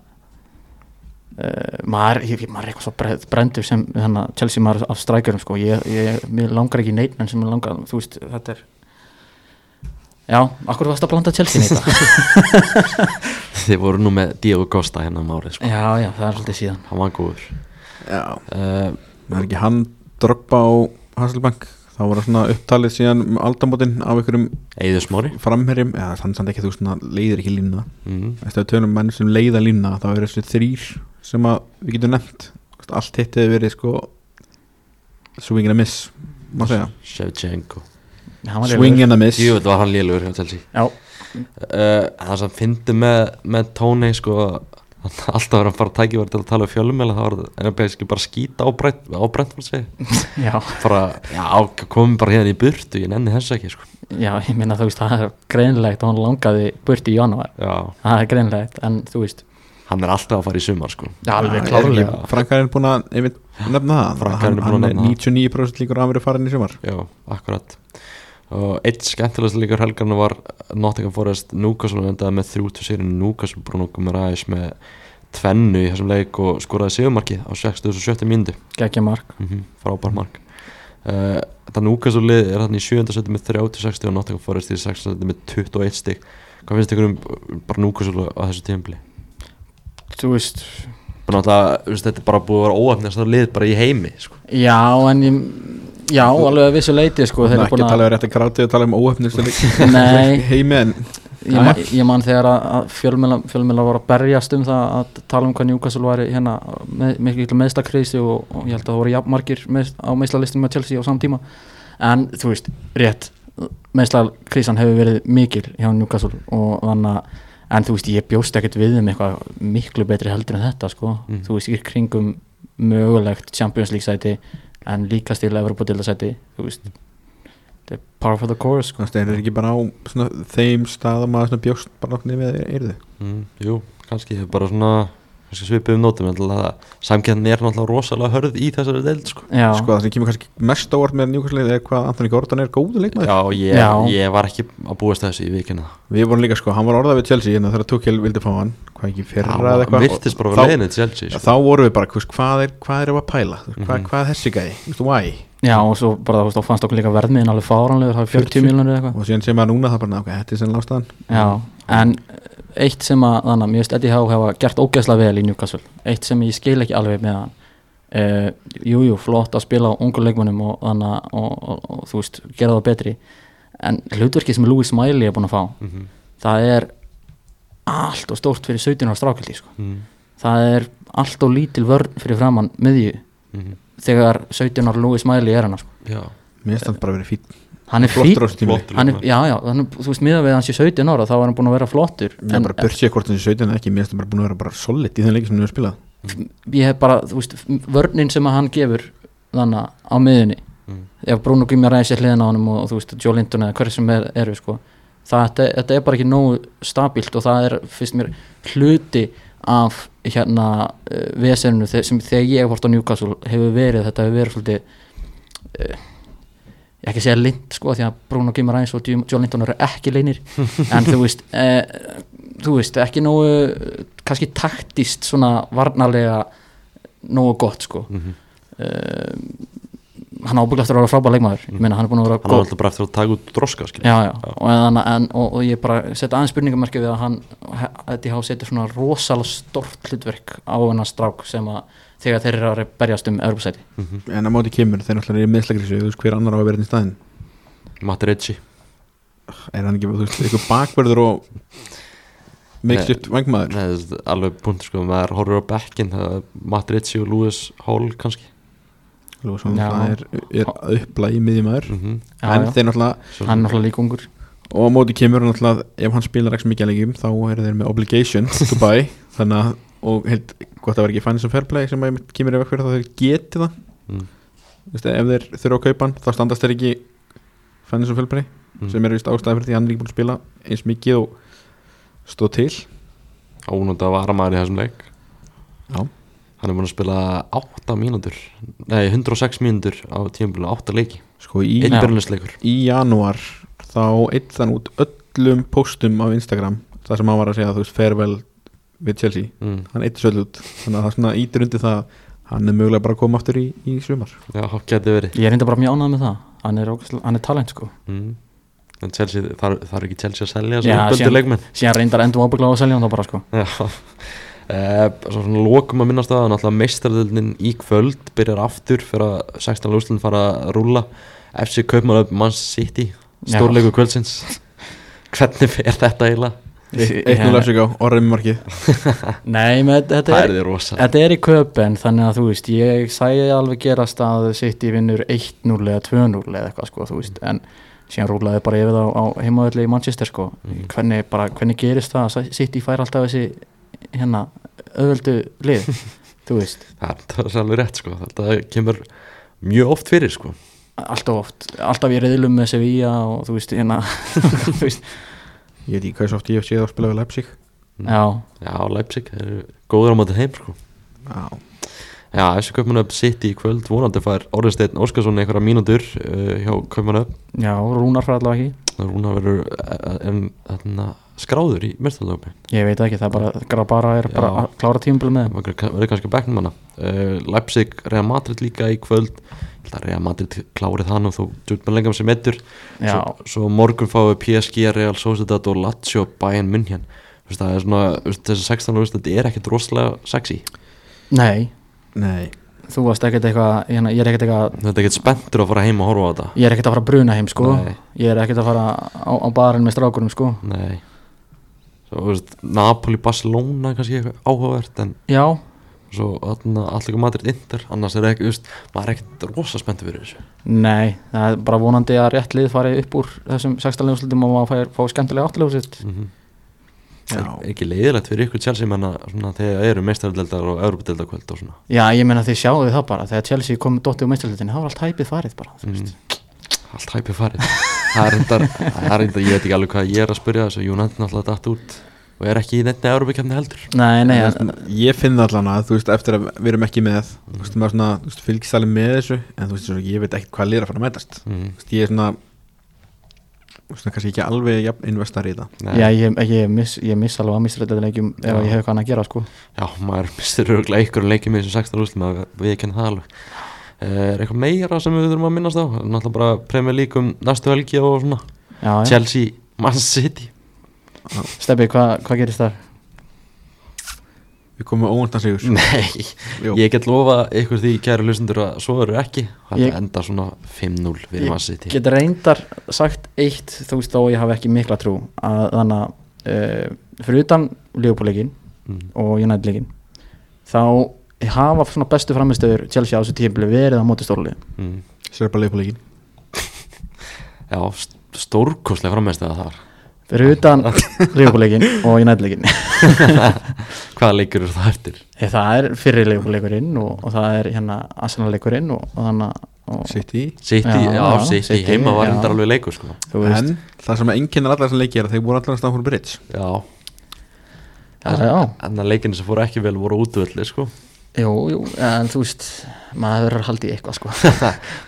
Speaker 3: Uh, maður, ég, ég- maður er eitthvað svo bre- brendur sem hana, Chelsea maður af strækjurum sko. ég, ég, mér langar ekki neitt en sem mér langar, þú veist, þetta er já, akkur varst að blanda Chelsea neitt
Speaker 1: þið voru nú með Diego Costa hérna um árið sko.
Speaker 3: já, já, það er svolítið síðan
Speaker 1: hann var góður
Speaker 2: já, Eh,
Speaker 1: uh,
Speaker 2: það er ekki hann Drogba og Hasselbank þá var það svona upptalið síðan um aldamótin af einhverjum
Speaker 1: Eður Smári
Speaker 2: framherjum eða hann samt ekki þú veist, svona leiðir ekki línuna
Speaker 1: mm.
Speaker 2: eftir að tölum menn sem leiða línuna þá eru þessi þrýr sem að við getum nefnt Þú veist, allt hitt hefur verið sko swing and a miss má segja
Speaker 1: Shevchenko
Speaker 3: Hann var
Speaker 2: swing
Speaker 3: lélegur.
Speaker 2: and a miss
Speaker 1: Jú, þetta var hann lélugur hjá Chelsea
Speaker 3: já,
Speaker 1: uh, það sem fyndi með, með Tóni sko, alltaf var hann bara tæki til að tala um fjölumela það var en að bæði bara skýta á, brent, á Brentford segi ég.
Speaker 3: já,
Speaker 1: bara, já, komum bara hérna í burtu ég nenni þess ekki, sko
Speaker 3: já, ég minna þú veist það er greinilegt og hann langaði burt í januar
Speaker 1: já,
Speaker 3: það er greinilegt, en þú veist
Speaker 1: hann er alltaf að fara í sumar, sko
Speaker 3: alveg
Speaker 1: klárlega.
Speaker 2: Frankarinn búin að einmitt nefna það
Speaker 1: Frank
Speaker 2: hann,
Speaker 1: er búinn að
Speaker 2: hann er
Speaker 1: nefna það. Sko,
Speaker 2: 99% líkur að hann verið farin í sumar
Speaker 1: já, akkurat og eitt skemmtilegast líkur helgarna var Nottingham Forest Newcastle og endaði með 30 sigri Newcastle Bruno Gumarais með tvennu í þessum leik og skoraði sigumarki á 67. mínútu
Speaker 3: geggja mark
Speaker 1: mm frábær mark uh, þetta Newcastle lið er þannig í 7. seti með 30-60 og Nottingham Forest í 6. seti með 21 stig hvað finnst ykkur um uh, bara Newcastle á þessu tímpli?
Speaker 3: þú veist,
Speaker 1: Náttúrulega, þú veist, þetta er bara búið að vera óöfnast að lið bara í heimi sko.
Speaker 3: já en ég, já, alveg að vissu leiti sko,
Speaker 2: hann er
Speaker 3: þeir eru
Speaker 2: ekki
Speaker 3: búin
Speaker 2: að
Speaker 3: að
Speaker 2: tala um rétt að gráti og tala um óöfnir
Speaker 3: Nei.
Speaker 2: heimi en
Speaker 3: ég, man, ég man þegar að- að fjölmjöla fjölmjöla voru að berjast um það að tala um hvað Newcastle væri hérna með, mikil meðstakriðsi og, og ég held að það voru jafnmargir með, á meðslalistinum með Chelsea á samtíma en þú veist, rétt meðslakriðsan hefur verið mikil hjá Newcastle og þannig að en þú veist, ég bjóst ekkert við um eitthvað miklu betri heldur en þetta sko
Speaker 1: Mm.
Speaker 3: þú veist, í kringum mögulegt Champions League sæti en líka stil Evropadilda sæti, þú veist Mm. þetta er par for the course sko
Speaker 2: Þannig að það er ekki bara á svona, þeim stað að maður svona bjóst bara nokkuð við eruðu
Speaker 1: mm, jú, kannski hefur bara svona kannski svipið um nótum en alltaf samkjöndin er náttúrulega rosalega hörð í þessari deild sko.
Speaker 3: já,
Speaker 2: sko það sem kemur kannski mest á orð með njúkvæmslega er hvað Anthony Gordon er góðu leikmaður
Speaker 1: Já, ég,
Speaker 3: Já.
Speaker 1: ég var ekki að búast þessu í vikinu
Speaker 2: við vorum líka sko, hann var orðað við Chelsea en þegar Tukil vildi fá hann, hvað ekki fyrra eða eitthvað
Speaker 1: virtist bara
Speaker 2: og
Speaker 1: verið
Speaker 2: þá-
Speaker 1: leiðinu til Chelsea
Speaker 2: Já,
Speaker 1: sko. Mhm.
Speaker 2: þá vorum við bara, hvers, hvað er, hvað er að pæla hvað, mm -hmm. hvað er þessi gæði, þú veist, why
Speaker 3: já, og svo bara þú veist, þá fannst okkur líka verðmiðin alveg fáranlegur, það er 40 miljonir eitthvað
Speaker 2: og síðan sem að núna það bara, ok, þetta er senn lástaðan
Speaker 3: Já, en eitt sem að þannig, að mér veist Eddie Howe hafa gert ógeðslega vel í Newcastle eitt sem ég skil ekki alveg með hann uh, Jújú, jú, flott að spila á ungu leikmönnum og þannig að- og, og, og þú veist, gera það betri en hlutverkið sem Louis Miley er búin að fá
Speaker 1: Mhm.
Speaker 3: það er allt og stórt fyrir 17 ára strákildi sko.
Speaker 1: Mhm.
Speaker 3: það er allt og lítil vörn fyrir framann miðju
Speaker 1: Mhm.
Speaker 3: þegar 17 ára Louis Miley er hann sko.
Speaker 1: Já,
Speaker 2: mér finnst það bara verið fín,
Speaker 3: hann er fýtt
Speaker 2: flottur á þessu tími
Speaker 1: flottur
Speaker 3: hann er,
Speaker 1: leikmaður.
Speaker 3: já, já, hann er, þú veist, miðað við hans í 17 ára þá var hann búin að vera flottur
Speaker 2: ég bara börsið hvort þessi 17 eða ekki, mér finnst það bara búin að vera bara solid í þeim leiki sem við spilað
Speaker 3: ég hef bara, þú veist, vörnin sem að hann gefur þannig á miðunni
Speaker 1: Mm.
Speaker 3: ef Bruno Gimjar ræði sér hliðin á honum og, og þú veist, Joe Linton eða hver sem er, eru sko. það, þetta, þetta er bara ekki nógu stabílt og það er, finnst mér, hluti af hérna uh, veseninu þe- sem þegar ég hef hort á Newcastle hefur verið, þetta hefur verið svolítið uh, ég ekki að segja lind sko, því að Bruno Gimjar ræði og Joe Linton eru ekki leinir en þú veist, uh, þú veist, ekki nógu eh, kannski taktist svona varnarlega nógu gott sko mm
Speaker 1: Mhm.
Speaker 3: hann ábygglega eftir að vera frábær leikmaður ég meina hann er búin að vera
Speaker 1: Mm. hann var
Speaker 3: góð
Speaker 1: alltaf bara eftir að taka út droska skilur.
Speaker 3: já, já. Og, en, en, og, og ég bara setja aðeins spurningamarki við að hann þetta hafa setið svona rosalega stort hlutverk á hennar strák sem að þegar þeir eru að berjast um Europasæti
Speaker 1: Mhm.
Speaker 2: en að móti kemur, þeir náttúrulega eru meðslagrisu þú veist hver annar á að vera þarna í staðinn
Speaker 1: Matt Ritchie
Speaker 2: er hann ekki, þú veist, eitthvað bakverður og mixed
Speaker 1: Nei.
Speaker 2: up vangmaður
Speaker 1: Nei, það er alveg punkt sko, maður horfir á bekkin það er Matt Ritchie og Lewis Hall kannski
Speaker 2: Lúa, svona,
Speaker 3: Já.
Speaker 2: það er, er upplægi miðjumæður
Speaker 1: mm -hmm.
Speaker 3: Já,
Speaker 2: en
Speaker 3: já.
Speaker 2: þeir náttúrulega,
Speaker 3: hann er náttúrulega líka ungur
Speaker 2: og á móti kemur hann náttúrulega ef hann spilar ekki mikið að leikum, þá eru þeir með obligation to buy, þannig að og held, gott að vera ekki fannis og fairplay sem að einmitt kemur ef ekkur það þeir geti það
Speaker 1: Mm.
Speaker 2: Vist, ef þeir þurfa að kaupa hann, þá standast þeir ekki fannis og fairplay,
Speaker 1: Mm.
Speaker 2: sem er vist ástæði fyrir því að hann er ekki búin að spila eins mikið og stóð til
Speaker 1: ónúnda varamaður í þessum leik
Speaker 2: Já.
Speaker 1: hann er búin að spila 8 mínútur nei 106 mínútur á tímabili 8 leiki,
Speaker 2: sko í
Speaker 1: einn
Speaker 3: Já.
Speaker 1: byrjunisleikur
Speaker 2: í janúar þá eitt þann út öllum póstum á Instagram þar sem hann var að segja þú veist farewell við Chelsea
Speaker 1: mm.
Speaker 2: hann eitt svolítið út þannig að það svona ítir undir það að hann er mögulega bara að koma aftur í, í sumar
Speaker 1: já, geti verið
Speaker 3: ég er reynda bara mjög ánægð með það hann er, ógeðslega- hann er talent sko
Speaker 1: mm. en Chelsea, þar, þar er ekki Chelsea að selja
Speaker 3: Já,
Speaker 1: svona
Speaker 3: síðan-
Speaker 1: böndu leikmenn
Speaker 3: síðan reyndar endum ábygglega á að selja hann þá bara sko
Speaker 1: Já. Eh, svo svona lokum að minnast á það náttúrulega meistarðildin í kvöld byrjar aftur fyrir að 16 lúslinn fara að rúlla FC Kaupmann upp Man City
Speaker 3: Já.
Speaker 1: stórleiku kvöldsins hvernig fer þetta eiginlega?
Speaker 3: Ég-
Speaker 2: eitt nú lefsug á orðið með markið
Speaker 3: Nei, menn, þetta,
Speaker 1: Það
Speaker 3: er,
Speaker 1: er því rosa
Speaker 3: þetta er í köpen þannig að þú veist, ég sæði alveg gerast að sitt í vinnur 1-0 eða 2-0 eða eitthvað sko, þú veist, en síðan rúlaði bara yfir það á, á heimavalli í Manchester sko, hvernig, bara, hvernig gerist það að sitt í fær alltaf þessi hérna, öðvöldu lið þú veist,
Speaker 1: Það er- það er alveg rétt sko þetta kemur mjög oft fyrir sko
Speaker 3: alltaf oft alltaf ég reyðlum með Sevilla og þú veist, hérna þú veist,
Speaker 2: ég veit ekki hvað svo oft ég hef séð að spila við Leipzig
Speaker 1: Mm.
Speaker 3: já,
Speaker 1: Já, Leipzig þeir eru góður á móti heim sko
Speaker 2: Já.
Speaker 1: Já, FC Kaupmann upp sitt í kvöld vonandi fær Orðinsteinn Óskarsson einhverja mínútur uh, hjá Kaupmann upp
Speaker 3: já, Rúnar fær allavega ekki
Speaker 1: Rúna verður eh, en, þarna, skráður í mestarlöfum
Speaker 3: ég veit það ekki, það er bara, Grabara er bara
Speaker 1: Já.
Speaker 3: að klára tímubil með þeim.
Speaker 1: Það verður kannski á bekknum hana uh, Leipzig, Real Madrid líka í kvöld Ég held að Real Madrid klárið það nú þó djúpmenn lengam sem ettur
Speaker 3: já,
Speaker 1: svo, svo morgun fáið PSG, Real Sociedad og Lazio Bayern München Þú veist, Það er svona, þú veist, þessi 16 lögust þetta er ekkit rosalega sexy
Speaker 3: nei
Speaker 2: nei,
Speaker 3: þú varst ekkert eitthvað, hérna, ég er ekkert eitthvað
Speaker 1: Þetta er ekkit spenntur að fara heim og horfa á þetta
Speaker 3: ég er ekkert að fara að bruna heim sko
Speaker 1: Nei.
Speaker 3: ég er ekkert að fara á, á barinn með strákurum sko
Speaker 1: Nei Svo, þú veist, Napoli, Barcelona kannski eitthvað áhugavert en
Speaker 3: já,
Speaker 1: svo allega Madrid Inter annars er ekki, þú veist, maður er ekkit rosa spenntur fyrir þessu
Speaker 3: nei, það er bara vonandi að rétt lið fari upp úr þessum sextalegum slutum og maður fær, fá skemmtilega áttilegu sitt
Speaker 1: Er
Speaker 2: Já.
Speaker 1: er ekki leiðilegt fyrir ykkur Chelsea menna svona þegar það eru meistaröldeldar og europadeldakvöld og svona
Speaker 3: já, ég meina þið sjáðu það bara þegar Chelsea kom dotti úr meistarlutinu, það var allt hæpið farið bara, þú veist
Speaker 1: allt hæpið farið það er reyndar, það er reyndar, ég veit ekki alveg hvað ég er að spyrja þessu United náttúrulega datt út og er ekki í nefni Európa-kefni heldur
Speaker 3: Nei, nei,
Speaker 2: En, þú veist, ég finn það allan að þú veist eftir að við erum ekki með þú veist maður svona þú veist, fylgist alveg með þessu en þú veist svo, ég veit ekkert hvað lið er að fara að mætast þú
Speaker 1: mm.
Speaker 2: veist ég er svona þú veist, kannski ekki alveg jafn investar í það
Speaker 1: Nei.
Speaker 3: já, ég, ég, miss, ég miss alveg að misrættilega leikjum ef
Speaker 1: Já.
Speaker 3: ég hef eitthvað annað að gera sko
Speaker 1: Já, maður mistur örgulega ykkur leikjum í þessum 16 úrstum að við kennum það alveg Eh, Er eitthvað meira sem við þurfum að minnast á? Náttúrulega bara premja líkum næstu helgi og svona
Speaker 3: Já, já.
Speaker 1: Chelsea, Man City
Speaker 3: Stebbi, hvað hva gerist þar?
Speaker 2: við komum með óvöndan sigur
Speaker 3: Mm.
Speaker 1: Nei,
Speaker 2: Jú.
Speaker 1: ég get lofa ykkur því kæru hlustundur að svo eru ekki Það
Speaker 3: Ég-
Speaker 1: enda svona 5-0
Speaker 3: Ég
Speaker 1: við Man City
Speaker 3: Get reyndar sagt eitt þú veist þó ég hafi ekki mikla trú að þannig að uh, fyrir utan Leopoldleikin
Speaker 1: Mm.
Speaker 3: og United-leikin þá hafa svona bestu framistöður Chelsea á þessu tímplu verið á móti stórlið
Speaker 1: Mm.
Speaker 2: sér bara leipuleikin
Speaker 1: Já, st- stórkostlega frammeist eða þar
Speaker 3: fyrir utan Leopoldleikin og United-leikin
Speaker 1: Hvaða leikur eru það eftir?
Speaker 3: Eh, það er fyrir Leopoldleikurinn og, og það er hérna Arsenal-leikurinn og, og þannig að og-
Speaker 2: sitt í
Speaker 1: City,
Speaker 3: Já,
Speaker 1: já,
Speaker 3: já,
Speaker 1: City,
Speaker 3: City,
Speaker 1: heima var
Speaker 3: já.
Speaker 1: endar alveg leikur sko
Speaker 3: þú veist
Speaker 2: en það sem enginnir allar sem leiki er að þeir voru allar að staðfóru bridge
Speaker 1: Já
Speaker 3: Já, já.
Speaker 1: En að leikinni sem fóru ekki vel voru útvöldi sko
Speaker 3: jú, jú, en þú veist maður verður að halda í eitthvað sko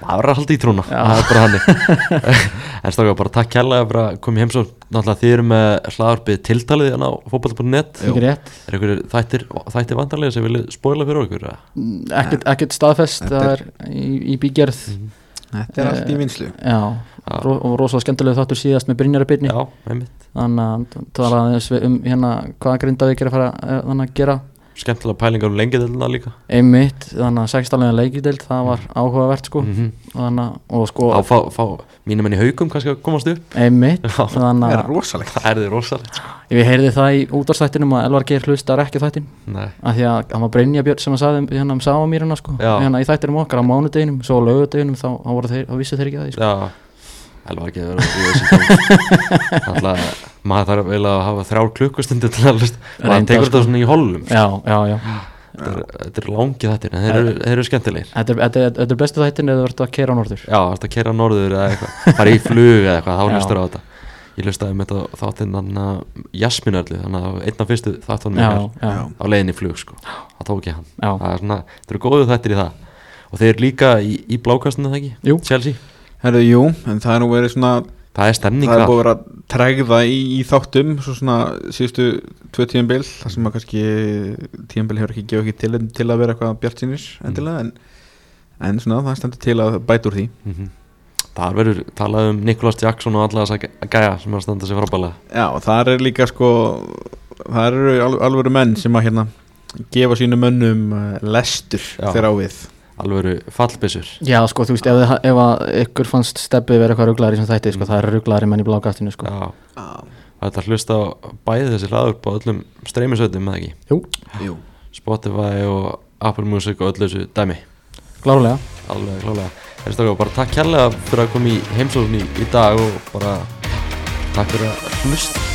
Speaker 1: maður er alltaf í trúna
Speaker 3: Já.
Speaker 1: það er bara hannig en stóka bara takk kærlega fyrir að koma í heimsókn náttúrulega þið eru með hlaðarpið tiltalið hérna á fótball.net
Speaker 3: ekki rétt
Speaker 1: er einhverjir þættir, þættir vandarlega sem vilja spoila fyrir okkur eða?
Speaker 3: Mm, ekkert, ekkert staðfest
Speaker 2: Þetta
Speaker 3: það er í, í bígerð
Speaker 2: þetta er
Speaker 3: Eh,
Speaker 2: allt í vinslu
Speaker 3: já,
Speaker 1: Já.
Speaker 3: ro og rosalega skemmtilegu þáttur síðast með Brynjar að byrni
Speaker 1: já, einmitt
Speaker 3: þannig að t- talaði aðeins við um hérna hvað Grindavík er að fara eh, þannig að gera
Speaker 1: skemmtilega pælingar um lengiðelina líka
Speaker 3: einmitt, þannig að sextalega leikideild það var áhugavert sko
Speaker 1: mm
Speaker 3: þannig að, og sko
Speaker 1: á fá, fá mínum enn í haugum kannski að komast upp
Speaker 3: einmitt,
Speaker 1: Já.
Speaker 2: það
Speaker 3: þannig
Speaker 2: er
Speaker 3: að
Speaker 2: rosalegt
Speaker 1: það er því rosalegt sko.
Speaker 3: við heyrði það í útvarstættinum að Elvar Geir hlustar ekki á þættin
Speaker 1: Nei.
Speaker 3: af því að hann var Brynja Björn sem að saði um- hérna um Sáamýruna sko,
Speaker 1: Já.
Speaker 3: hérna í þættinum okkar á mánudeginum, svo á laugardeginum þá, þá, voru þeir- þá vissu þeir ekki að því sko.
Speaker 1: já Elvar ekki að vera í þessu Alltaf, maður þarf vel að hafa þrjár klukkustundir til að lust maður
Speaker 3: Reyndar,
Speaker 1: tekur
Speaker 3: sko.
Speaker 1: þetta svona í holum sko.
Speaker 3: já, já, já
Speaker 1: þetta er- þetta eru langið þættir en þeir eru, þeir eru skemmtilegir
Speaker 3: Þetta er, þetta, er, þetta er bestu þættin eða þú ert að keira á norður
Speaker 1: Já, þetta að kera norður eða eitthvað fara í flug eða eitthvað, þá
Speaker 3: Já.
Speaker 1: hlustur á þetta Ég hlustaði með þetta þáttinn hann uh, Jasminarli, þannig að það var einn af fyrstu þáttunum
Speaker 3: já,
Speaker 1: mér
Speaker 3: já,
Speaker 2: Já.
Speaker 1: á leiðinni í flug sko, það tók ég hann
Speaker 3: já.
Speaker 1: það er svona, þetta eru góðu þættir í það og þeir eru líka í, í blákastinu það ekki,
Speaker 3: Jú.
Speaker 1: Chelsea
Speaker 2: herru jú en það er nú verið svona
Speaker 1: Það er stemning
Speaker 2: það er
Speaker 1: þar
Speaker 2: búið að vera tregða í, í þáttum svo svona síðustu tvö tíðanbíl þar sem að kannski tíðanbíl hefur ekki gefið ekki til, til að vera eitthvað bjart sínir
Speaker 1: Mm.
Speaker 2: endilega en, en svona það stendur til að bæta úr því
Speaker 1: Mhm. Þar verður talað um Nikolas Jackson og alla þess að gæja sem er að standa sér frábælega
Speaker 2: já og þar er líka sko það eru al, alvöru menn sem að hérna gefa sínum mönnum eh, lestur
Speaker 1: Já.
Speaker 2: þegar á við
Speaker 1: alvöru fallbissur
Speaker 3: já, sko, þú veist, ef, þið- ef að ykkur fannst steppið vera eitthvað rugglaðir sem þætti, sko, það eru rugglaðir menn í blágastinu, sko
Speaker 1: Já, þetta hlusta á bæði þessi hlaður á öllum streymisöldum eða ekki
Speaker 3: Jú,
Speaker 2: Jú.
Speaker 1: Spotify og Apple Music og öllu þessu dæmi
Speaker 3: klárlega
Speaker 1: alveg klálega Það er stakka, bara takk kærlega fyrir að koma í heimsókn í, í dag og bara takk fyrir að hlusta